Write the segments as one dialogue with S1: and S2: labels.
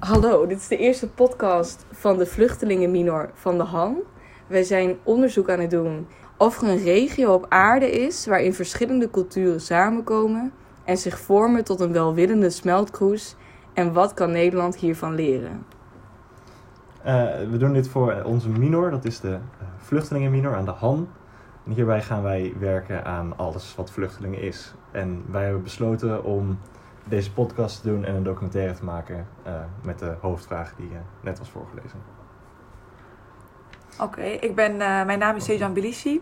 S1: Hallo, dit is de eerste podcast van de vluchtelingenminor van de Han. Wij zijn onderzoek aan het doen of er een regio op aarde is waarin verschillende culturen samenkomen en zich vormen tot een welwillende smeltkroes en wat kan Nederland hiervan leren?
S2: Eh, we doen dit voor eh, onze minor, dat is de eh, vluchtelingenminor aan de Han. En hierbij gaan wij werken aan alles wat vluchtelingen is. En wij hebben besloten om deze podcast te doen en een documentaire te maken eh, met de hoofdvraag die eh, net was voorgelezen.
S3: Oké, ik ben, eh, mijn naam is Sejan Bilici.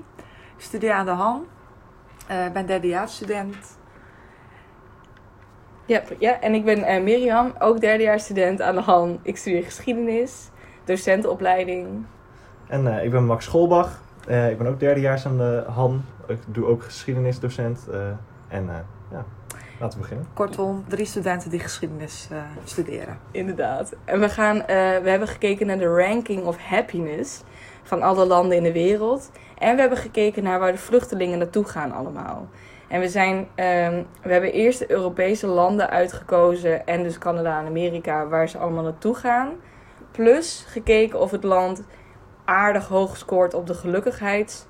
S3: Ik studeer aan de HAN. Eh, Ik ben derdejaarsstudent.
S1: Ja, ja en ik ben eh, Miriam, ook derdejaarsstudent aan de Han. Ik studeer geschiedenis, docentenopleiding.
S2: En eh, ik ben Max Scholbach, Eh, ik ben ook derdejaars aan de Han. Ik doe ook geschiedenisdocent. eh, en eh, ja, laten we beginnen.
S3: Kortom, drie studenten die geschiedenis eh, studeren.
S1: Inderdaad. En we, gaan, eh, we hebben gekeken naar de ranking of happiness van alle landen in de wereld. En we hebben gekeken naar waar de vluchtelingen naartoe gaan allemaal. En we, zijn, ehm, we hebben eerst de Europese landen uitgekozen en dus Canada en Amerika waar ze allemaal naartoe gaan. Plus gekeken of het land aardig hoog scoort op de gelukkigheids...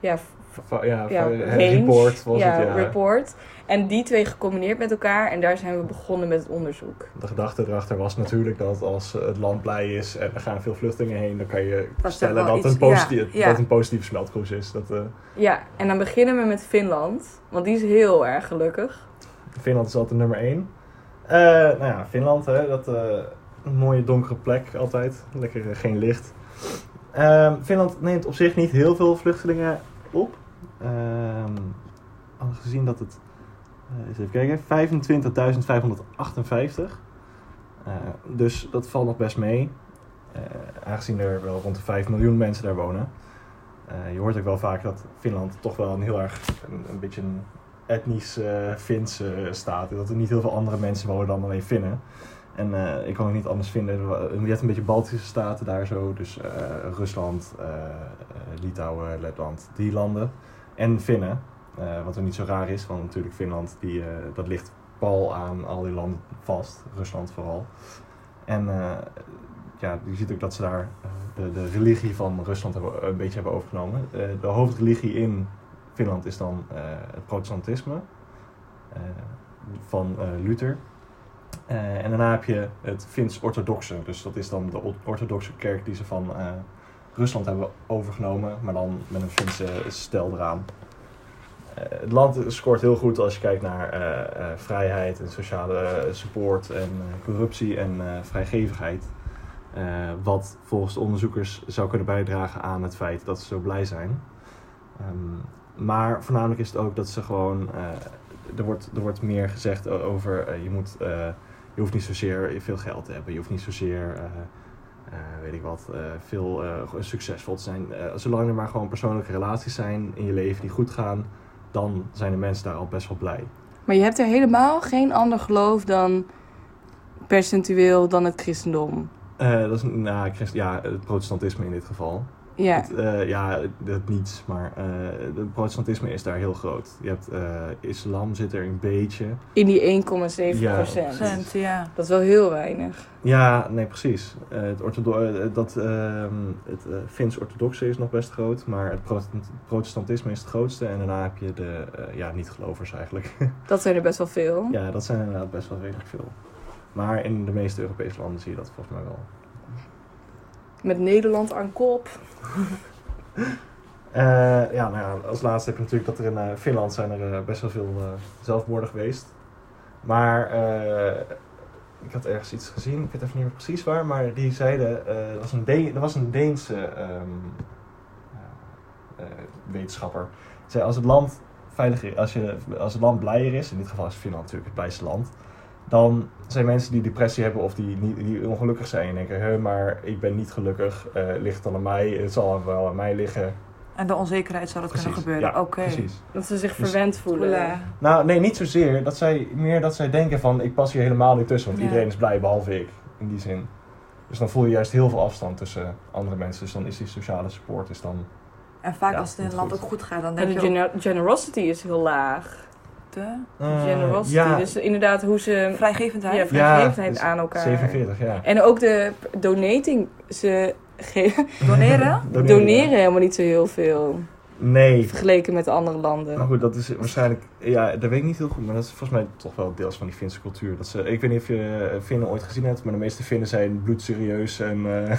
S1: Ja,
S2: Va- ja,
S1: ja,
S2: va-
S1: range.
S2: eh, report was
S1: ja,
S2: het, ja.
S1: report. En die twee gecombineerd met elkaar en daar zijn we begonnen met het onderzoek.
S2: De gedachte erachter was natuurlijk dat als het land blij is en er gaan veel vluchtelingen heen, dan kan je
S3: toch
S2: stellen
S3: wel
S2: dat,
S3: iets-
S2: een positief,
S3: ja, ja.
S2: dat een positieve smeltkroes is. Dat, eh,
S1: Ja, en dan beginnen we met Finland. Want die is heel erg gelukkig.
S2: Finland is altijd nummer één. Eh, nou ja, Finland, hè, dat eh, een mooie donkere plek altijd. Lekker eh, geen licht. Ehm, Finland neemt op zich niet heel veel vluchtelingen op. Ehm aangezien dat het, eh, eens even kijken, 25.558. Eh, dus dat valt nog best mee. Eh, aangezien er wel rond de 5 miljoen mensen daar wonen. Eh, je hoort ook wel vaak dat Finland toch wel een heel erg, een, een beetje een etnisch eh Fins eh, staat. Dat er niet heel veel andere mensen wonen dan alleen Finnen. En eh, ik kon het niet anders vinden. Je hebt een beetje Baltische staten daar zo. Dus eh, Rusland, eh, eh, Litouwen, Letland, die landen. En Finnen. Eh, wat er niet zo raar is, want natuurlijk Finland, die, eh, dat ligt pal aan al die landen vast. Rusland vooral. En eh, ja, je ziet ook dat ze daar eh, de, de religie van Rusland hebben, een beetje hebben overgenomen. Eh, de hoofdreligie in Finland is dan eh, het protestantisme eh, van eh, Luther. Eh, en daarna heb je het Fins-orthodoxe. Dus dat is dan de or- orthodoxe kerk die ze van eh, Rusland hebben overgenomen, maar dan met een Finse stijl eraan. Eh, het land scoort heel goed als je kijkt naar eh, eh, vrijheid en sociale eh, support en eh, corruptie en eh, vrijgevigheid. Eh, wat volgens de onderzoekers zou kunnen bijdragen aan het feit dat ze zo blij zijn. Ehm, maar voornamelijk is het ook dat ze gewoon. eh, er, wordt, er wordt meer gezegd o- over. eh, je, moet, eh, je hoeft niet zozeer veel geld te hebben. Je hoeft niet zozeer. eh, eh, weet ik wat. eh, veel eh, gewoon succesvol te zijn. Eh, zolang er maar gewoon persoonlijke relaties zijn in je leven die goed gaan. dan zijn de mensen daar al best wel blij.
S1: Maar je hebt er helemaal geen ander geloof dan percentueel dan het christendom.
S2: Eh, dat is. Nou, christ- ja, het protestantisme in dit geval.
S1: Ja,
S2: Het, eh, ja, dat niets, maar eh het protestantisme is daar heel groot. Je hebt eh, islam zit er een beetje.
S1: in die 1,7
S2: Ja,
S1: procent.
S2: procent.
S3: Cent, ja.
S1: Dat is wel heel weinig.
S2: Ja, nee, precies. Eh, het orthodo- eh, dat, ehm, het eh, Fins-orthodoxe is nog best groot, maar het protestant- protestantisme is het grootste. En daarna heb je de eh, ja, niet-gelovers eigenlijk.
S1: Dat zijn er best wel veel.
S2: ja, dat zijn inderdaad best wel redelijk veel. Maar in de meeste Europese landen zie je dat volgens mij wel.
S1: Met Nederland aan kop.
S2: Eh, ja, nou ja, als laatste heb je natuurlijk dat er in eh, Finland zijn er eh, best wel veel eh, zelfmoorden geweest. Maar eh, ik had ergens iets gezien, ik weet even niet meer precies waar, maar die zeiden, eh, er, was een Deen- er was een Deense ehm, eh, eh, wetenschapper. Die zei, als het land veiliger, als, je, als het land blijer is, in dit geval is Finland natuurlijk het blijste land, dan zijn mensen die depressie hebben of die, niet, die ongelukkig zijn en denken, "Hè, maar ik ben niet gelukkig, eh, ligt het dan aan mij, het zal wel aan mij liggen.
S3: En de onzekerheid zou dat kunnen gebeuren.
S2: Ja,
S3: Oké.
S2: precies.
S1: Dat ze zich
S2: Dus-
S1: verwend voelen.
S3: Oela.
S2: Nou, nee, niet zozeer. Dat zij, meer dat zij denken van, ik pas hier helemaal niet tussen. Want
S3: Ja.
S2: iedereen is blij, behalve ik. In die zin. Dus dan voel je juist heel veel afstand tussen andere mensen. Dus dan is die sociale support is dan...
S3: En vaak
S2: Ja,
S3: als het in een
S2: goed.
S3: land ook goed gaat, dan
S1: En
S3: denk
S1: de
S3: je ook,
S1: gener- generosity is heel laag.
S3: liefde,
S2: Eh,
S1: Generosity.
S2: ja,
S1: Dus inderdaad hoe ze
S3: vrijgevendheid.
S1: ja, vrijgevendheid
S2: dus
S1: aan elkaar.
S2: 47, ja.
S1: En ook de p- donating. Ze ge-
S3: Doneren?
S1: doneren, helemaal niet zo heel veel.
S2: Nee.
S1: Vergeleken met andere landen.
S2: Maar goed, dat is waarschijnlijk... Ja, dat weet ik niet heel goed. Maar dat is volgens mij toch wel deels van die Finse cultuur. Dat ze, ik weet niet of je eh, Finnen ooit gezien hebt. Maar de meeste Finnen zijn bloedserieus. En, eh,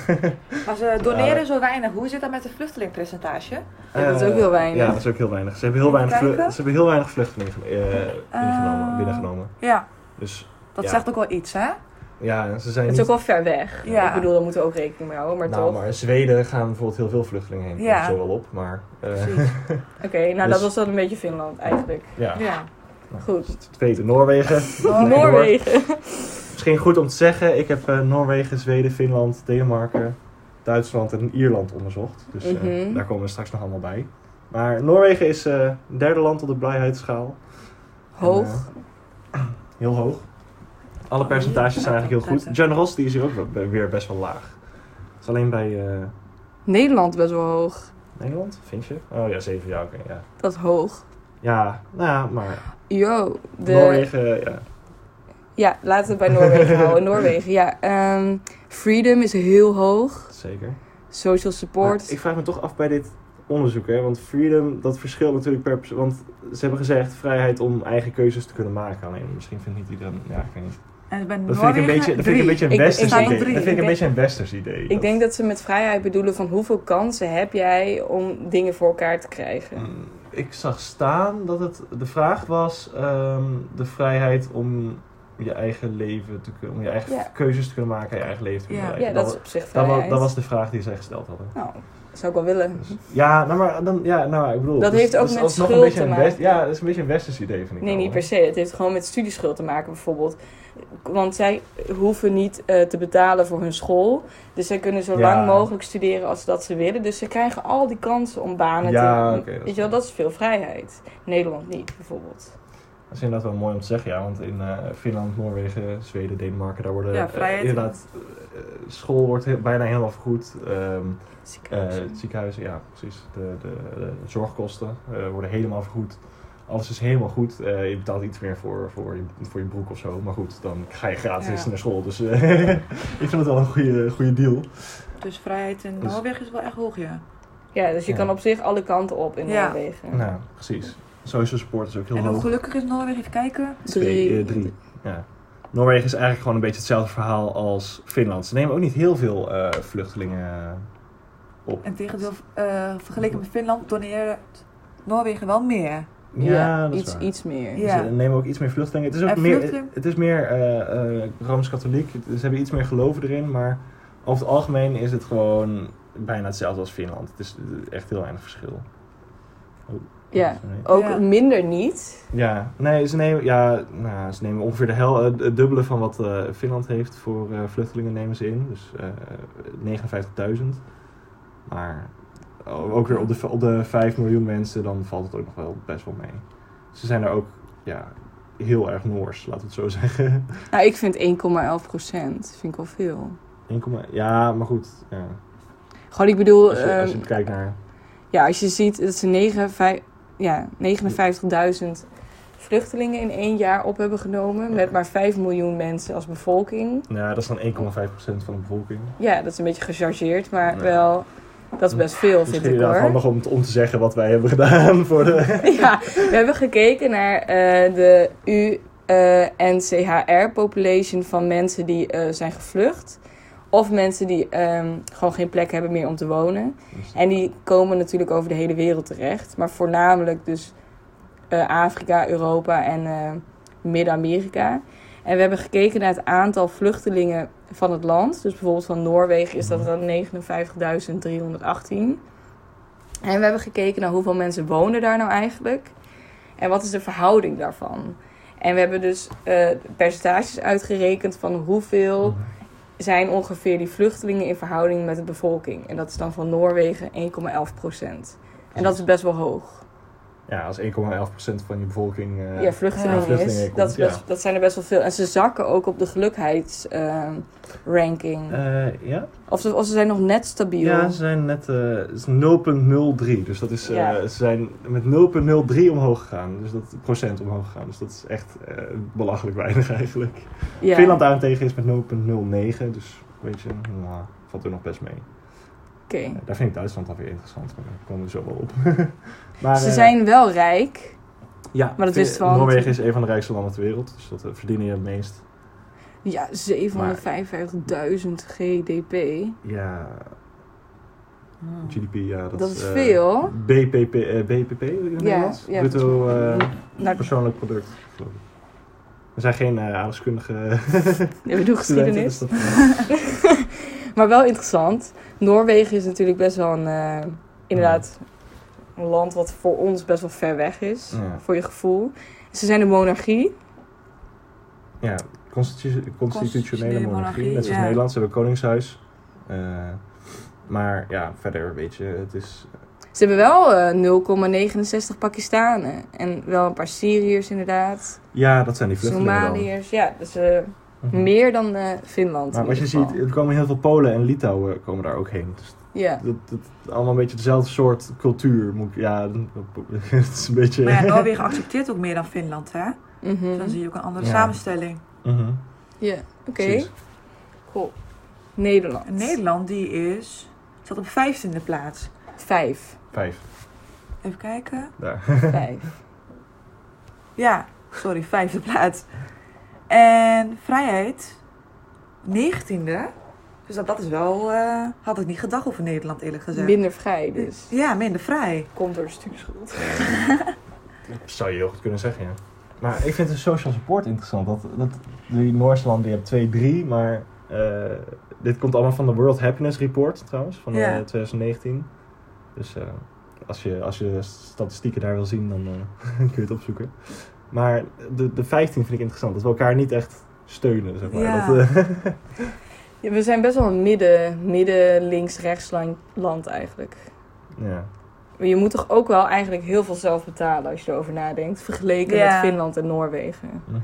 S3: Maar ze doneren zo weinig. Hoe zit dat met het vluchtelingpercentage?
S1: Ja, dat is ook
S2: eh,
S1: heel weinig.
S2: Ja, dat is ook heel weinig. Ze hebben heel weinig, vlu-
S3: Kijken.
S2: ze hebben heel weinig vluchtelingen eh, ingenomen,
S3: Eh.
S2: binnengenomen.
S3: Ja,
S2: Dus
S3: dat
S2: Ja.
S3: zegt ook wel iets, hè?
S2: ja, ze zijn
S1: Het is
S2: niet...
S1: ook wel ver weg.
S3: Ja.
S1: Ik bedoel, daar moeten we ook rekening mee houden. Maar
S2: nou,
S1: toch.
S2: maar Zweden gaan bijvoorbeeld heel veel vluchtelingen heen.
S3: Ja.
S2: Ja. Zo wel op, maar... eh,
S1: Oké, nou
S2: Dus-
S1: dat was dan een beetje Finland eigenlijk.
S2: ja.
S3: Ja.
S1: Goed.
S2: Tweede, Noorwegen. Lekker
S3: Noorwegen.
S2: door.
S1: Oh, Noorwegen.
S2: Misschien goed om te zeggen, ik heb eh, Noorwegen, Zweden, Finland, Denemarken, Duitsland en Ierland onderzocht. Dus eh,
S1: Mhm.
S2: daar komen we straks nog allemaal bij. Maar Noorwegen is eh derde land op de blijheidsschaal. En,
S1: Hoog.
S2: eh, heel hoog. Alle percentages zijn eigenlijk heel goed. Generosity is hier ook wel- weer best wel laag. Het is alleen bij eh,
S1: Nederland best wel hoog.
S2: Nederland, vind je? Oh ja, zeven jaar, oké. ja.
S1: Dat is hoog.
S2: ja, nou ja, maar
S1: Yo. De...
S2: Noorwegen, ja.
S1: Ja, laten we het bij Noorwegen houden. Noorwegen, ja. ehm, freedom is heel hoog.
S2: zeker.
S1: Social support.
S2: Maar Ik vraag me toch af bij dit onderzoek, hè? want freedom, dat verschilt natuurlijk per persoon. Want ze hebben gezegd vrijheid om eigen keuzes te kunnen maken. Alleen misschien vindt niet iedereen. Ja, ik weet niet.
S3: En ik ben
S2: Dat vind ik een beetje, dat vind ik een, beetje een
S1: Ik- ik
S2: westers
S3: sta op
S2: idee.
S3: drie.
S2: Dat vind ik
S1: Ik
S2: een
S1: denk-
S2: beetje een westers idee.
S1: Ik denk dat ze met vrijheid bedoelen van hoeveel kansen heb jij om dingen voor elkaar te krijgen.
S2: Mm, Ik zag staan dat het de vraag was ehm, de vrijheid om je eigen leven te kunnen, om je eigen
S1: Ja.
S2: keuzes te kunnen maken, je eigen leven te kunnen
S3: Ja.
S1: Ja,
S2: leiden.
S1: dat is op zich
S2: dat, was,
S1: vrijheid.
S2: dat was de vraag die zij gesteld hadden.
S1: Nou, dat zou ik wel willen.
S2: Dus- ja, nou maar dan, ja, nou ik bedoel.
S1: Dat heeft ook met
S2: alsnog
S1: schuld
S2: een beetje
S1: te
S2: een
S1: maken.
S2: west- ja, dat is een beetje een westers idee vind ik.
S1: Nee,
S2: wel,
S1: niet
S2: hè.
S1: per se. Het heeft gewoon met studieschuld te maken bijvoorbeeld. Want zij hoeven niet eh, te betalen voor hun school. Dus zij kunnen zo
S2: Ja.
S1: lang mogelijk studeren als dat ze willen. Dus ze krijgen al die kansen om banen
S2: Ja,
S1: te...
S2: oké, dat is
S1: Weet je wel, dat is veel vrijheid. Nederland niet, bijvoorbeeld.
S2: Dat is inderdaad wel mooi om te zeggen, ja. Want in eh, Finland, Noorwegen, Zweden, Denemarken, daar worden
S3: Ja,
S2: eh,
S3: vrijheid.
S2: inderdaad eh, school wordt he- bijna helemaal vergoed. Ehm, eh,
S1: Ziekenhuizen.
S2: ziekenhuizen, ja, precies. De, de, de zorgkosten eh, worden helemaal vergoed. Alles is helemaal goed. Eh, je betaalt iets meer voor, voor, je, voor je broek of zo. Maar goed, dan ga je gratis
S3: Ja.
S2: naar school. Dus eh, ik vind het wel een goede, goede deal.
S3: Dus vrijheid in
S2: Dus-
S3: Noorwegen is wel echt hoog, ja.
S1: ja, dus je
S2: ja.
S1: kan op zich alle kanten op in
S3: Ja.
S1: Noorwegen.
S2: Nou, precies. Social support is ook heel
S3: En hoe
S2: hoog.
S3: gelukkig is Noorwegen? Even kijken.
S1: Drie.
S2: eh, drie. Ja. Noorwegen is eigenlijk gewoon een beetje hetzelfde verhaal als Finland. Ze nemen ook niet heel veel eh, vluchtelingen op.
S3: En tegendeel, eh, vergeleken met Finland doneert Noorwegen wel meer.
S1: Ja,
S2: dat
S1: iets,
S2: is waar.
S1: iets meer.
S3: Ja.
S2: Ze Dus, eh, nemen ook iets meer vluchtelingen. Het is ook
S3: En
S2: meer,
S3: vluchtelingen?
S2: het is meer eh, eh, Rooms-Katholiek. Het- Ze hebben iets meer geloven erin. Maar over het algemeen is het gewoon bijna hetzelfde als Finland. Het is eh, echt heel weinig verschil. Oh,
S1: Ja.
S2: sorry.
S1: Ook
S3: Ja.
S1: minder niet.
S2: Ja, nee, ze nemen, ja, nou, ze nemen ongeveer de hel, eh, het dubbele van wat eh, Finland heeft voor eh, vluchtelingen nemen ze in. Dus eh 59.000. Maar ook weer op de, op de 5 miljoen mensen, dan valt het ook nog wel best wel mee. Ze zijn daar ook ja, heel erg Noors, laten we het zo zeggen.
S1: Nou, ik vind 1,11 procent. Vind ik wel veel.
S2: 1,1 ja, maar goed. Ja.
S1: Gewoon, ik bedoel...
S2: Als, je, als je
S1: ehm,
S2: kijkt naar...
S1: Ja, als je ziet dat ze 9, vij- ja, 59.000 vluchtelingen in één jaar op hebben genomen.
S2: Ja.
S1: Met maar 5 miljoen mensen als bevolking.
S2: Nou, dat is dan 1,5% van de bevolking.
S1: Ja, dat is een beetje gechargeerd, maar
S2: Ja.
S1: wel. Dat is best veel, vind
S2: Misschien
S1: ik
S2: inderdaad
S1: hoor.
S2: handig om, om te zeggen wat wij hebben gedaan voor de...
S1: Ja, we hebben gekeken naar eh, de eh, UNCHR-population van mensen die eh, zijn gevlucht. Of mensen die ehm, gewoon geen plek hebben meer om te wonen. En die komen natuurlijk over de hele wereld terecht. Maar voornamelijk dus eh, Afrika, Europa en eh, Midden-Amerika. En we hebben gekeken naar het aantal vluchtelingen van het land. Dus bijvoorbeeld van Noorwegen is dat dan 59.318. En we hebben gekeken naar hoeveel mensen wonen daar nou eigenlijk. En wat is de verhouding daarvan. En we hebben dus eh, percentages uitgerekend van hoeveel zijn ongeveer die vluchtelingen in verhouding met de bevolking. En dat is dan van Noorwegen 1,11 procent. En dat is best wel hoog.
S2: ja, als 1,11% van je bevolking eh,
S1: ja, vluchteling
S3: Ja,
S2: vluchtelingen
S1: is.
S2: komt,
S1: Dat, is
S2: ja.
S1: best- dat zijn er best wel veel. En ze zakken ook op de gelukheidsranking.
S2: eh, ja?
S1: of, ze- of ze zijn nog net stabiel.
S2: ja, ze zijn net eh, het is 0,03. Dus dat is, eh,
S1: Ja.
S2: ze zijn met 0,03 omhoog gegaan. Dus dat procent omhoog gegaan. Dus dat is echt eh, belachelijk weinig eigenlijk.
S1: Ja.
S2: Finland daarentegen is met 0,09. Dus weet je, nou, valt er nog best mee.
S1: Oké.
S2: Eh, daar vind ik Duitsland alweer interessant. Maar daar komen we zo wel op. maar,
S1: Ze
S2: eh,
S1: zijn wel rijk.
S2: Ja,
S1: Maar dat
S2: vind-
S1: wist wel
S2: Noorwegen is
S1: natuurlijk.
S2: een van de rijkste landen ter wereld. Dus dat eh, verdienen je het meest.
S1: Ja, 755.000 GDP.
S2: Ja, GDP, ja. Dat,
S1: Dat is
S2: eh,
S1: veel.
S2: BPP, eh, BPP in het Nederlands?
S1: ja,
S2: Bruto
S1: volgens mij.
S2: eh,
S1: Nou,
S2: persoonlijk product, geloof ik. We zijn geen eh aardrijkskundige
S1: we doen
S2: studenten.
S1: geschiedenis.
S2: Dus dat,
S1: Maar wel interessant. Noorwegen is natuurlijk best wel een, eh, inderdaad, een land wat voor ons best wel ver weg is.
S2: Ja.
S1: Voor je gevoel. Ze zijn een monarchie.
S2: ja, constitu- constitutionele
S3: Constitutionele
S2: monarchie,
S3: monarchie,
S2: net zoals
S3: ja.
S2: Nederland. Ze hebben een koningshuis. Eh, maar ja, verder weet je, het is...
S1: Ze hebben wel eh, 0,69 Pakistanen. En wel een paar Syriërs inderdaad.
S2: Ja, dat zijn die vluchtelingen dan.
S1: Somaliërs. Ja, dus eh,
S2: Mhm.
S1: meer dan eh, Finland.
S2: Maar
S1: in
S2: wat je
S1: ieder geval.
S2: ziet, er komen heel veel Polen en Litouwen komen daar ook heen. Dus
S1: Ja.
S2: dat, dat, allemaal een beetje dezelfde soort cultuur. Moet ik, ja, het is een beetje...
S3: Maar ja, Noorwegen accepteert ook meer dan Finland, hè? Dus dan
S1: Mhm.
S3: zie je ook een andere
S2: Ja.
S3: samenstelling.
S2: Mhm,
S1: Ja, oké.
S2: precies.
S1: Cool. Nederland.
S3: En Nederland, die is... staat op 15e plaats.
S1: Vijf.
S2: Vijf,
S3: Even kijken.
S2: daar.
S1: Vijf.
S3: Ja, sorry, vijfde plaats. En vrijheid, negentiende. Dus dat, dat is wel, eh, had ik niet gedacht over Nederland eerlijk gezegd.
S1: Minder vrij dus.
S3: Ja, minder vrij.
S1: Komt door stuurschuld.
S2: Dat zou je heel goed kunnen zeggen, ja. Maar ik vind de social support interessant. Dat, dat, die Noorse landen, die hebben 2-3, maar eh, dit komt allemaal van de World Happiness Report trouwens, van eh,
S3: Ja.
S2: 2019. Dus eh, als, je, als je de statistieken daar wil zien, dan eh, kun je het opzoeken. Maar de, de 15 vind ik interessant, dat we elkaar niet echt steunen, zeg maar.
S3: Ja.
S2: Dat, eh,
S1: Ja, we zijn best wel een midden, midden links rechts land, land eigenlijk.
S2: ja.
S1: Maar je moet toch ook wel eigenlijk heel veel zelf betalen als je erover nadenkt. Vergeleken
S3: Ja.
S1: met Finland en Noorwegen.
S2: Mhm.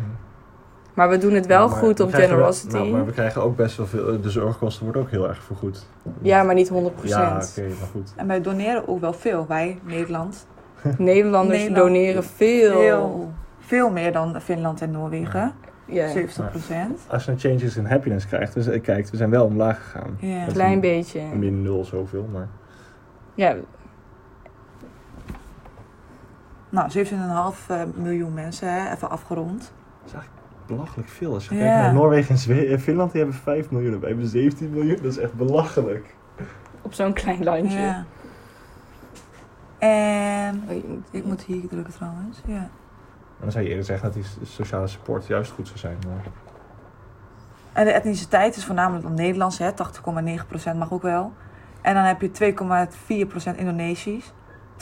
S1: Maar we doen het wel
S2: Maar
S1: goed
S2: we
S1: op
S2: krijgen wel-
S1: generosity.
S2: nou, maar we krijgen ook best wel veel, de zorgkosten worden ook heel erg vergoed.
S1: Ja, maar niet 100%.
S2: Ja, oké, maar goed.
S3: En wij doneren ook wel veel, wij, Nederland.
S1: Nederlanders
S3: Nederland.
S1: doneren veel.
S3: Veel meer dan Finland en Noorwegen.
S1: Ja,
S3: 70 procent.
S2: Als je een changes in happiness krijgt, dus eh, kijkt, we zijn wel omlaag gegaan.
S3: Ja.
S1: een klein beetje.
S2: Min nul zoveel, maar...
S1: Ja,
S3: Nou, 17,5 eh, miljoen mensen, hè, even afgerond.
S2: Dat is eigenlijk belachelijk veel. Als je
S3: Ja.
S2: kijkt naar Noorwegen en Zwe- eh, Finland, die hebben 5 miljoen. Wij hebben 17 miljoen, dat is echt belachelijk.
S1: op zo'n klein landje.
S3: Ja. En...
S1: Oh, je moet-
S3: Ik moet hier drukken trouwens, ja.
S2: En dan zou je eerder zeggen dat die s- sociale support juist goed zou zijn. Maar...
S3: En de etniciteit is voornamelijk dan Nederlands, hè, 80,9% mag ook wel. En dan heb je 2,4% Indonesisch,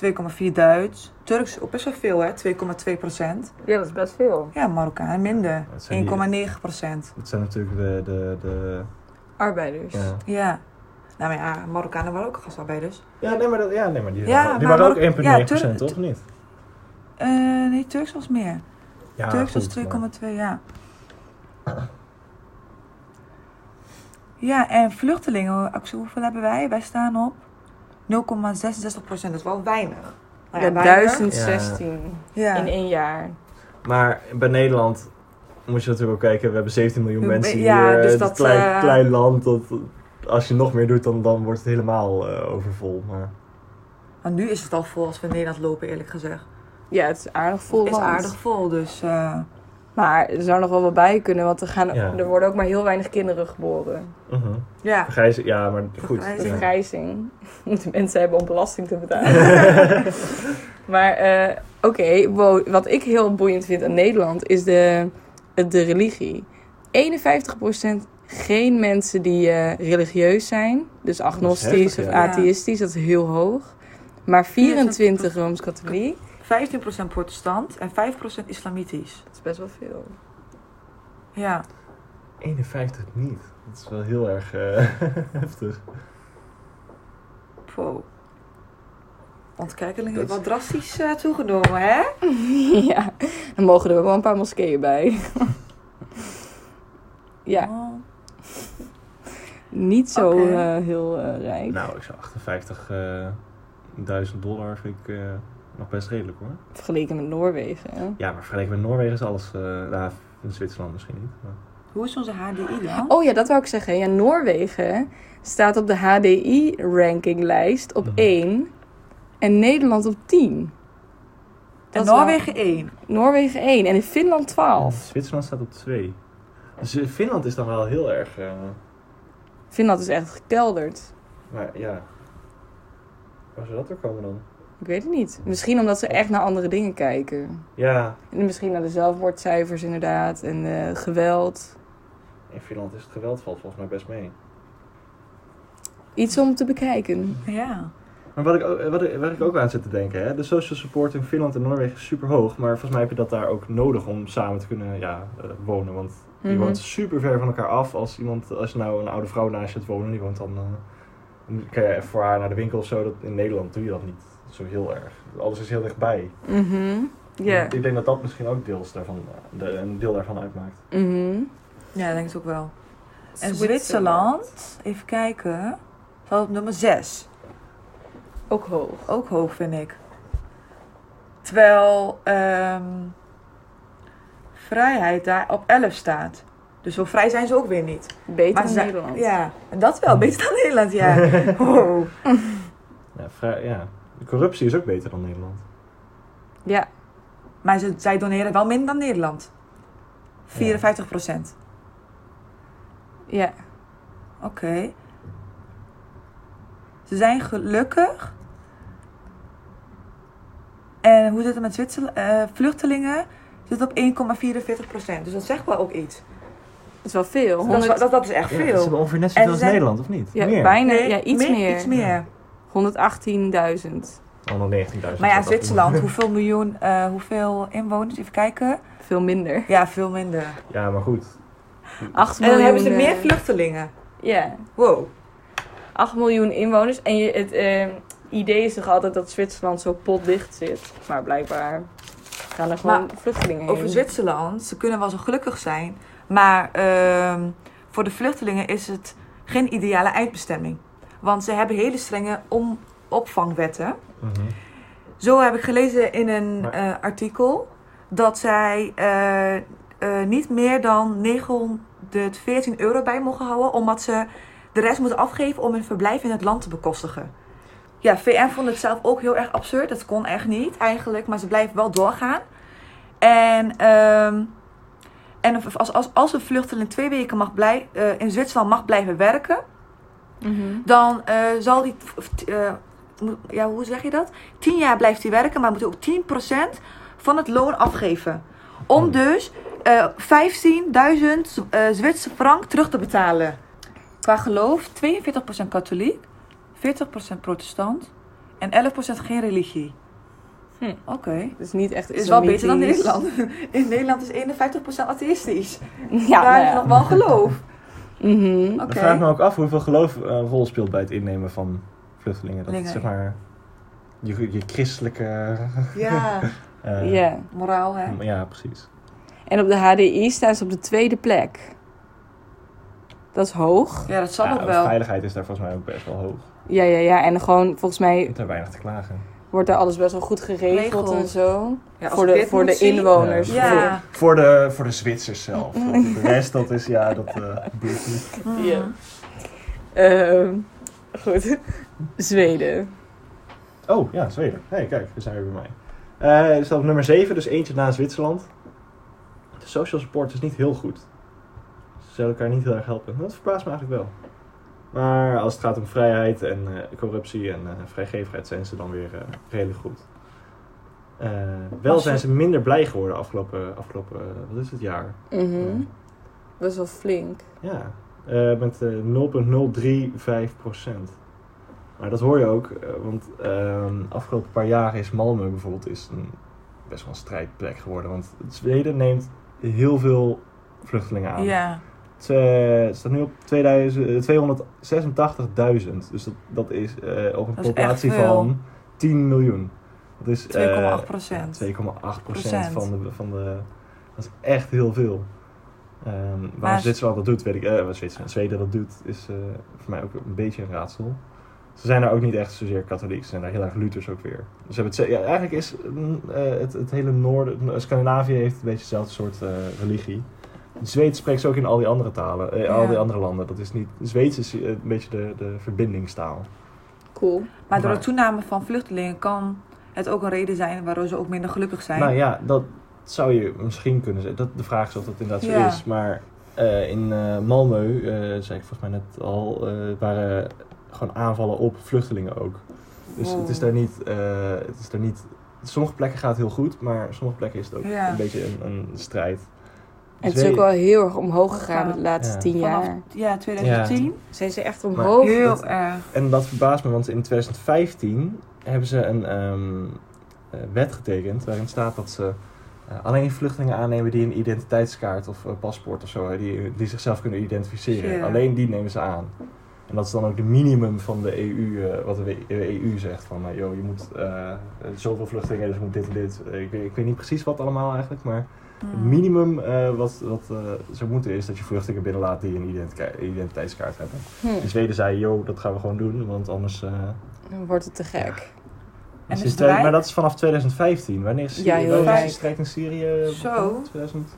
S3: 2,4% Duits. Turks ook best wel veel, hè, 2,2%.
S1: Ja, dat is best veel.
S3: Ja, Marokkaan minder,
S2: Dat zijn die-
S3: 1,9%.
S2: Dat zijn natuurlijk de... de, de
S1: Arbeiders.
S2: ja.
S3: Ja. Nou maar ja, Marokkanen waren ook gastarbeiders.
S2: Ja, nee, maar, dat, ja, nee, maar die,
S3: Ja,
S2: waren, die
S3: maar
S2: waren ook
S3: welk-
S2: 1,9
S3: ja, Tur-
S2: procent, toch? Of niet?
S3: Eh, nee, Turks was meer.
S2: Ja,
S3: Turks was
S2: goed,
S3: 2,2, ja. Ja, en vluchtelingen, Axel, hoeveel hebben wij? Wij staan op 0,66 procent, dat is wel weinig. Nou
S1: Ja,
S3: weinig.
S1: 1016
S3: Ja.
S1: in één jaar.
S2: Maar bij Nederland moet je natuurlijk ook kijken. We hebben 17 miljoen
S3: Ja,
S2: mensen
S3: ja,
S2: hier.
S3: dus
S2: het
S3: dat,
S2: klein,
S3: eh,
S2: klein land. Dat, als je nog meer doet, dan, dan wordt het helemaal eh, overvol. Maar
S3: Maar nu is het al vol als we in Nederland lopen, eerlijk gezegd.
S1: Ja, het is aardig vol
S3: Het is
S1: land.
S3: aardig vol, dus... eh,
S1: Maar er zou nog wel wat bij kunnen, want er, gaan,
S2: Ja.
S1: er worden ook maar heel weinig kinderen geboren.
S2: mhm.
S3: ja.
S2: vergrijzen, ja, maar goed.
S1: De
S3: Vergrijzing. Ja.
S2: ja.
S1: vergrijzing moeten mensen hebben om belasting te betalen. maar eh, oké, wo- wat ik heel boeiend vind aan Nederland is de, de religie. 51% geen mensen die eh, religieus zijn, dus agnostisch
S2: heftig,
S1: of
S2: ja.
S1: atheïstisch, dat is heel hoog. Maar 24 Rooms-Katholiek,
S3: 15% protestant en 5% islamitisch.
S1: dat is best wel veel.
S3: Ja.
S2: 51 niet. Dat is wel heel erg eh, heftig.
S3: Wow. Ontkerkeling
S2: Dat
S3: heeft
S2: is-
S3: wel drastisch eh, toegenomen, hè?
S1: ja, dan mogen er wel een paar moskeeën bij. ja,
S3: Oh.
S1: niet zo
S3: Oké.
S1: eh, heel eh, rijk.
S2: Nou, ik zou 58.000 dollar vind ik eh, nog best redelijk hoor.
S1: Vergeleken met Noorwegen. hè.
S2: Ja, maar vergeleken met Noorwegen is alles... eh nou, in Zwitserland misschien niet. maar-
S3: Hoe is onze HDI dan?
S1: Oh ja, dat wou ik zeggen. Ja, Noorwegen staat op de HDI-rankinglijst op
S2: Mhm.
S1: 1 en Nederland op 10.
S3: en
S1: is wel-
S3: Noorwegen 1.
S1: Noorwegen 1 en in Finland 12.
S2: Zwitserland staat op 2. Dus eh, Finland is dan wel heel erg... eh,
S1: Finland is echt gekelderd.
S2: maar ja... Waar zou dat door komen dan?
S1: Ik weet het niet. Misschien omdat ze echt naar andere dingen kijken.
S2: Ja,
S1: En misschien naar de zelfmoordcijfers inderdaad en eh, geweld.
S2: in Finland is het geweld valt volgens mij best mee.
S1: Iets om te bekijken.
S3: Ja.
S2: Maar wat ik, ook- wat, ik, wat ik ook aan zit te denken, hè, de social support in Finland en Noorwegen is super hoog. Maar volgens mij heb je dat daar ook nodig om samen te kunnen ja, eh, wonen. Want je
S1: Mhm.
S2: woont super ver van elkaar af. Als, iemand, als je nou een oude vrouw naast je hebt wonen, die woont dan. eh, dan kan je voor haar naar de winkel of zo. Dat, in Nederland doe je dat niet zo heel erg. Alles is heel dichtbij.
S1: Mhm. Ja.
S2: Ik denk dat dat misschien ook deels daarvan, eh, de, een deel daarvan uitmaakt.
S1: Mhm.
S3: Ja, ik denk het ook wel. En Zwitserland, even kijken, staat op nummer 6.
S1: Ook hoog.
S3: Ook hoog, vind ik. Terwijl ehm, vrijheid daar op 11 staat. Dus zo vrij zijn ze ook weer niet.
S1: Beter
S3: Maar
S1: dan
S3: ze-
S1: Nederland.
S3: Ja, en dat wel. Beter dan Nederland, ja. Wow.
S2: Ja, vrij, ja. De corruptie is ook beter dan Nederland.
S1: Ja.
S3: Maar ze, zij doneren wel minder dan Nederland. 54 procent.
S1: Ja.
S3: Oké. Ze zijn gelukkig. En hoe zit het met Zwitserland? eh vluchtelingen zit op 1,44 procent. Dus dat zegt wel ook iets.
S1: Dat is wel veel.
S3: Dat, is,
S1: 100
S3: wel- dat, dat is echt
S2: Ja,
S3: veel.
S2: Ze hebben ongeveer net zoveel
S3: En ze
S2: als
S3: zijn-
S2: Nederland, of niet?
S1: Ja,
S2: Meer.
S1: bijna. ja, iets meer.
S3: Iets meer.
S1: 118.000.
S2: Oh, nog 19.000.
S3: Maar ja,
S2: Dat-
S3: Zwitserland, hoeveel miljoen, eh, hoeveel inwoners? Even kijken.
S1: Veel minder.
S3: Ja, veel minder.
S2: Ja, maar goed.
S1: 8
S3: En dan
S1: miljoen.
S3: hebben ze meer
S1: eh,
S3: vluchtelingen.
S1: Ja.
S3: Wow.
S1: 8 miljoen inwoners. En je, het eh, idee is toch altijd dat Zwitserland zo potdicht zit. Maar blijkbaar gaan er gewoon vluchtelingen heen.
S3: Over Zwitserland, ze kunnen wel zo gelukkig zijn. Maar ehm, voor de vluchtelingen is het geen ideale eindbestemming. Want ze hebben hele strenge om- opvangwetten.
S2: Mhm.
S3: Zo heb ik gelezen in een
S2: Maar-
S3: eh, artikel dat zij eh, eh, niet meer dan 914 euro bij mogen houden, omdat ze de rest moeten afgeven om hun verblijf in het land te bekostigen. Ja, VN vond het zelf ook heel erg absurd. Dat kon echt niet eigenlijk, maar ze blijven wel doorgaan. En, ehm, en als, als, als een vluchteling twee weken mag blij, eh, in Zwitserland mag blijven werken,
S1: Mhm.
S3: dan eh, zal die. of, eh, moet- ja, hoe zeg je dat? 10 jaar blijft hij werken, maar moet ook 10% van het loon afgeven. Om
S2: Hmm.
S3: dus eh 15.000 eh Zwitserse frank terug te betalen. Qua geloof 42% katholiek, 40% protestant en 11% geen religie.
S1: Hm.
S3: Oké.
S1: Dus niet echt
S3: Is wel beter dan
S1: islamitisch.
S3: Nederland. In Nederland is 51% atheïstisch.
S1: Ja,
S3: Daar
S1: nou
S3: is
S1: ja.
S3: nog wel geloof.
S1: Mhm.
S3: Oké.
S2: Ik vraag me ook af hoeveel geloof eh, een rol speelt bij het innemen van vluchtelingen. Dat het,
S3: Lingen.
S2: zeg maar je, je christelijke.
S3: Ja,
S2: eh,
S1: Ja.
S3: moraal hè.
S2: Ja, precies.
S1: En op de HDI staan ze op de tweede plek. Dat is hoog.
S3: Ja, dat zal
S2: Ja,
S3: nog wel.
S2: Veiligheid is daar volgens mij ook best wel hoog.
S1: Ja, ja, ja. En gewoon, volgens
S2: Je
S1: mij
S2: hebt er weinig te klagen.
S1: wordt daar alles best wel goed geregeld
S3: Regeld.
S1: en zo.
S3: Ja, als
S1: voor
S3: ik
S1: de,
S3: dit
S1: voor
S3: moet
S1: de
S3: zien-
S1: inwoners.
S3: Ja.
S2: Voor de, voor de Zwitsers zelf. De rest, dat is ja, dat. eh, boeit niet.
S1: Ja. Ehm, goed. Zweden.
S2: oh ja, Zweden. Hé, hey, kijk, we zijn weer bij mij. Eh er staat op nummer 7, dus eentje na Zwitserland. De social support is niet heel goed. Ze zullen elkaar niet heel erg helpen. Dat verbaast me eigenlijk wel. Maar als het gaat om vrijheid en eh, corruptie en eh, vrijgevigheid zijn ze dan weer eh, redelijk goed. Eh, wel
S3: Als je-
S2: zijn ze minder blij geworden afgelopen, afgelopen eh, wat is het jaar?
S3: Hmm.
S1: Mhm. Best wel flink.
S2: Ja, eh, met eh, 0,035 Maar dat hoor je ook, eh, want ehm, afgelopen paar jaren is Malmö bijvoorbeeld is een, best wel een strijdplek geworden. Want Zweden neemt heel veel vluchtelingen aan.
S3: ja.
S2: Het eh, het staat nu op 2000, eh, 286.000. Dus dat, dat is eh, op een
S3: Dat is echt
S2: populatie
S3: veel.
S2: van 10 miljoen. Dat is eh,
S3: 2,8 procent.
S2: ja, 2,8 procent
S3: Procent.
S2: van de, van de... Dat is echt heel veel. Ehm waarom
S3: Maar-
S2: Zwitserland dat doet, weet ik... eh, wat Zwitserland, Zweden dat doet, is eh, voor mij ook een beetje een raadsel. Ze zijn daar ook niet echt zozeer katholiek. Ze zijn daar heel erg Luthers ook weer. Dus hebben het, ze- ja, eigenlijk is mm, eh, het, het hele noorden... mm, Scandinavië heeft een beetje hetzelfde soort eh, religie. Zweeds spreekt ze ook in al die andere talen. eh, Al
S3: Ja.
S2: die andere landen. Dat is niet... Zweeds is eh, een beetje de, de verbindingstaal.
S1: Cool.
S3: Maar door de
S2: Maar-
S3: toename van vluchtelingen kan het ook een reden zijn waardoor ze ook minder gelukkig zijn.
S2: Nou ja, dat zou je misschien kunnen zeggen. Dat, de vraag is of dat inderdaad zo
S3: Ja.
S2: is. Maar eh, in eh Malmö, eh, zei ik volgens mij net al, eh, waren gewoon aanvallen op vluchtelingen ook. Dus
S3: Wow.
S2: het is daar niet. eh, het is daar niet sommige plekken gaat het heel goed, maar sommige plekken is het ook
S3: Ja.
S2: een beetje een, een strijd. Dus
S1: En het is ook
S2: Zweden-
S1: wel heel erg omhoog gegaan
S3: Ja.
S1: de laatste
S2: Ja.
S1: tien
S3: Vanaf
S1: jaar.
S3: ja, 2010.
S1: Zijn ze echt omhoog?
S3: Heel
S2: dat-
S3: erg.
S2: En dat verbaast me, want in 2015 hebben ze een ehm, eh, wet getekend waarin staat dat ze eh, alleen vluchtelingen aannemen die een identiteitskaart of eh, paspoort of zo, hè, die, die zichzelf kunnen identificeren.
S3: Ja.
S2: Alleen die nemen ze aan. En dat is dan ook de minimum van de EU, eh, wat de W- eh, EU zegt. Van, eh, joh, je moet eh, eh, zoveel vluchtelingen, dus je moet dit en dit. Eh, ik, weet- ik weet niet precies wat allemaal eigenlijk, maar
S3: Hmm.
S2: het minimum eh, wat, wat eh, zou moeten is dat je vluchtelingen binnenlaat die een identitei- identiteitskaart hebben. In
S1: Hm,
S2: Zweden zei, yo, dat gaan we gewoon doen, want anders... eh,
S1: dan wordt het te gek.
S2: is het
S3: is het
S2: twee-
S3: rijk?
S2: maar dat is vanaf 2015. Wanneer is,
S1: Ja, heel
S2: wanneer is
S1: rijk.
S2: die strijd in Syrië?
S3: Zo.
S2: 2000?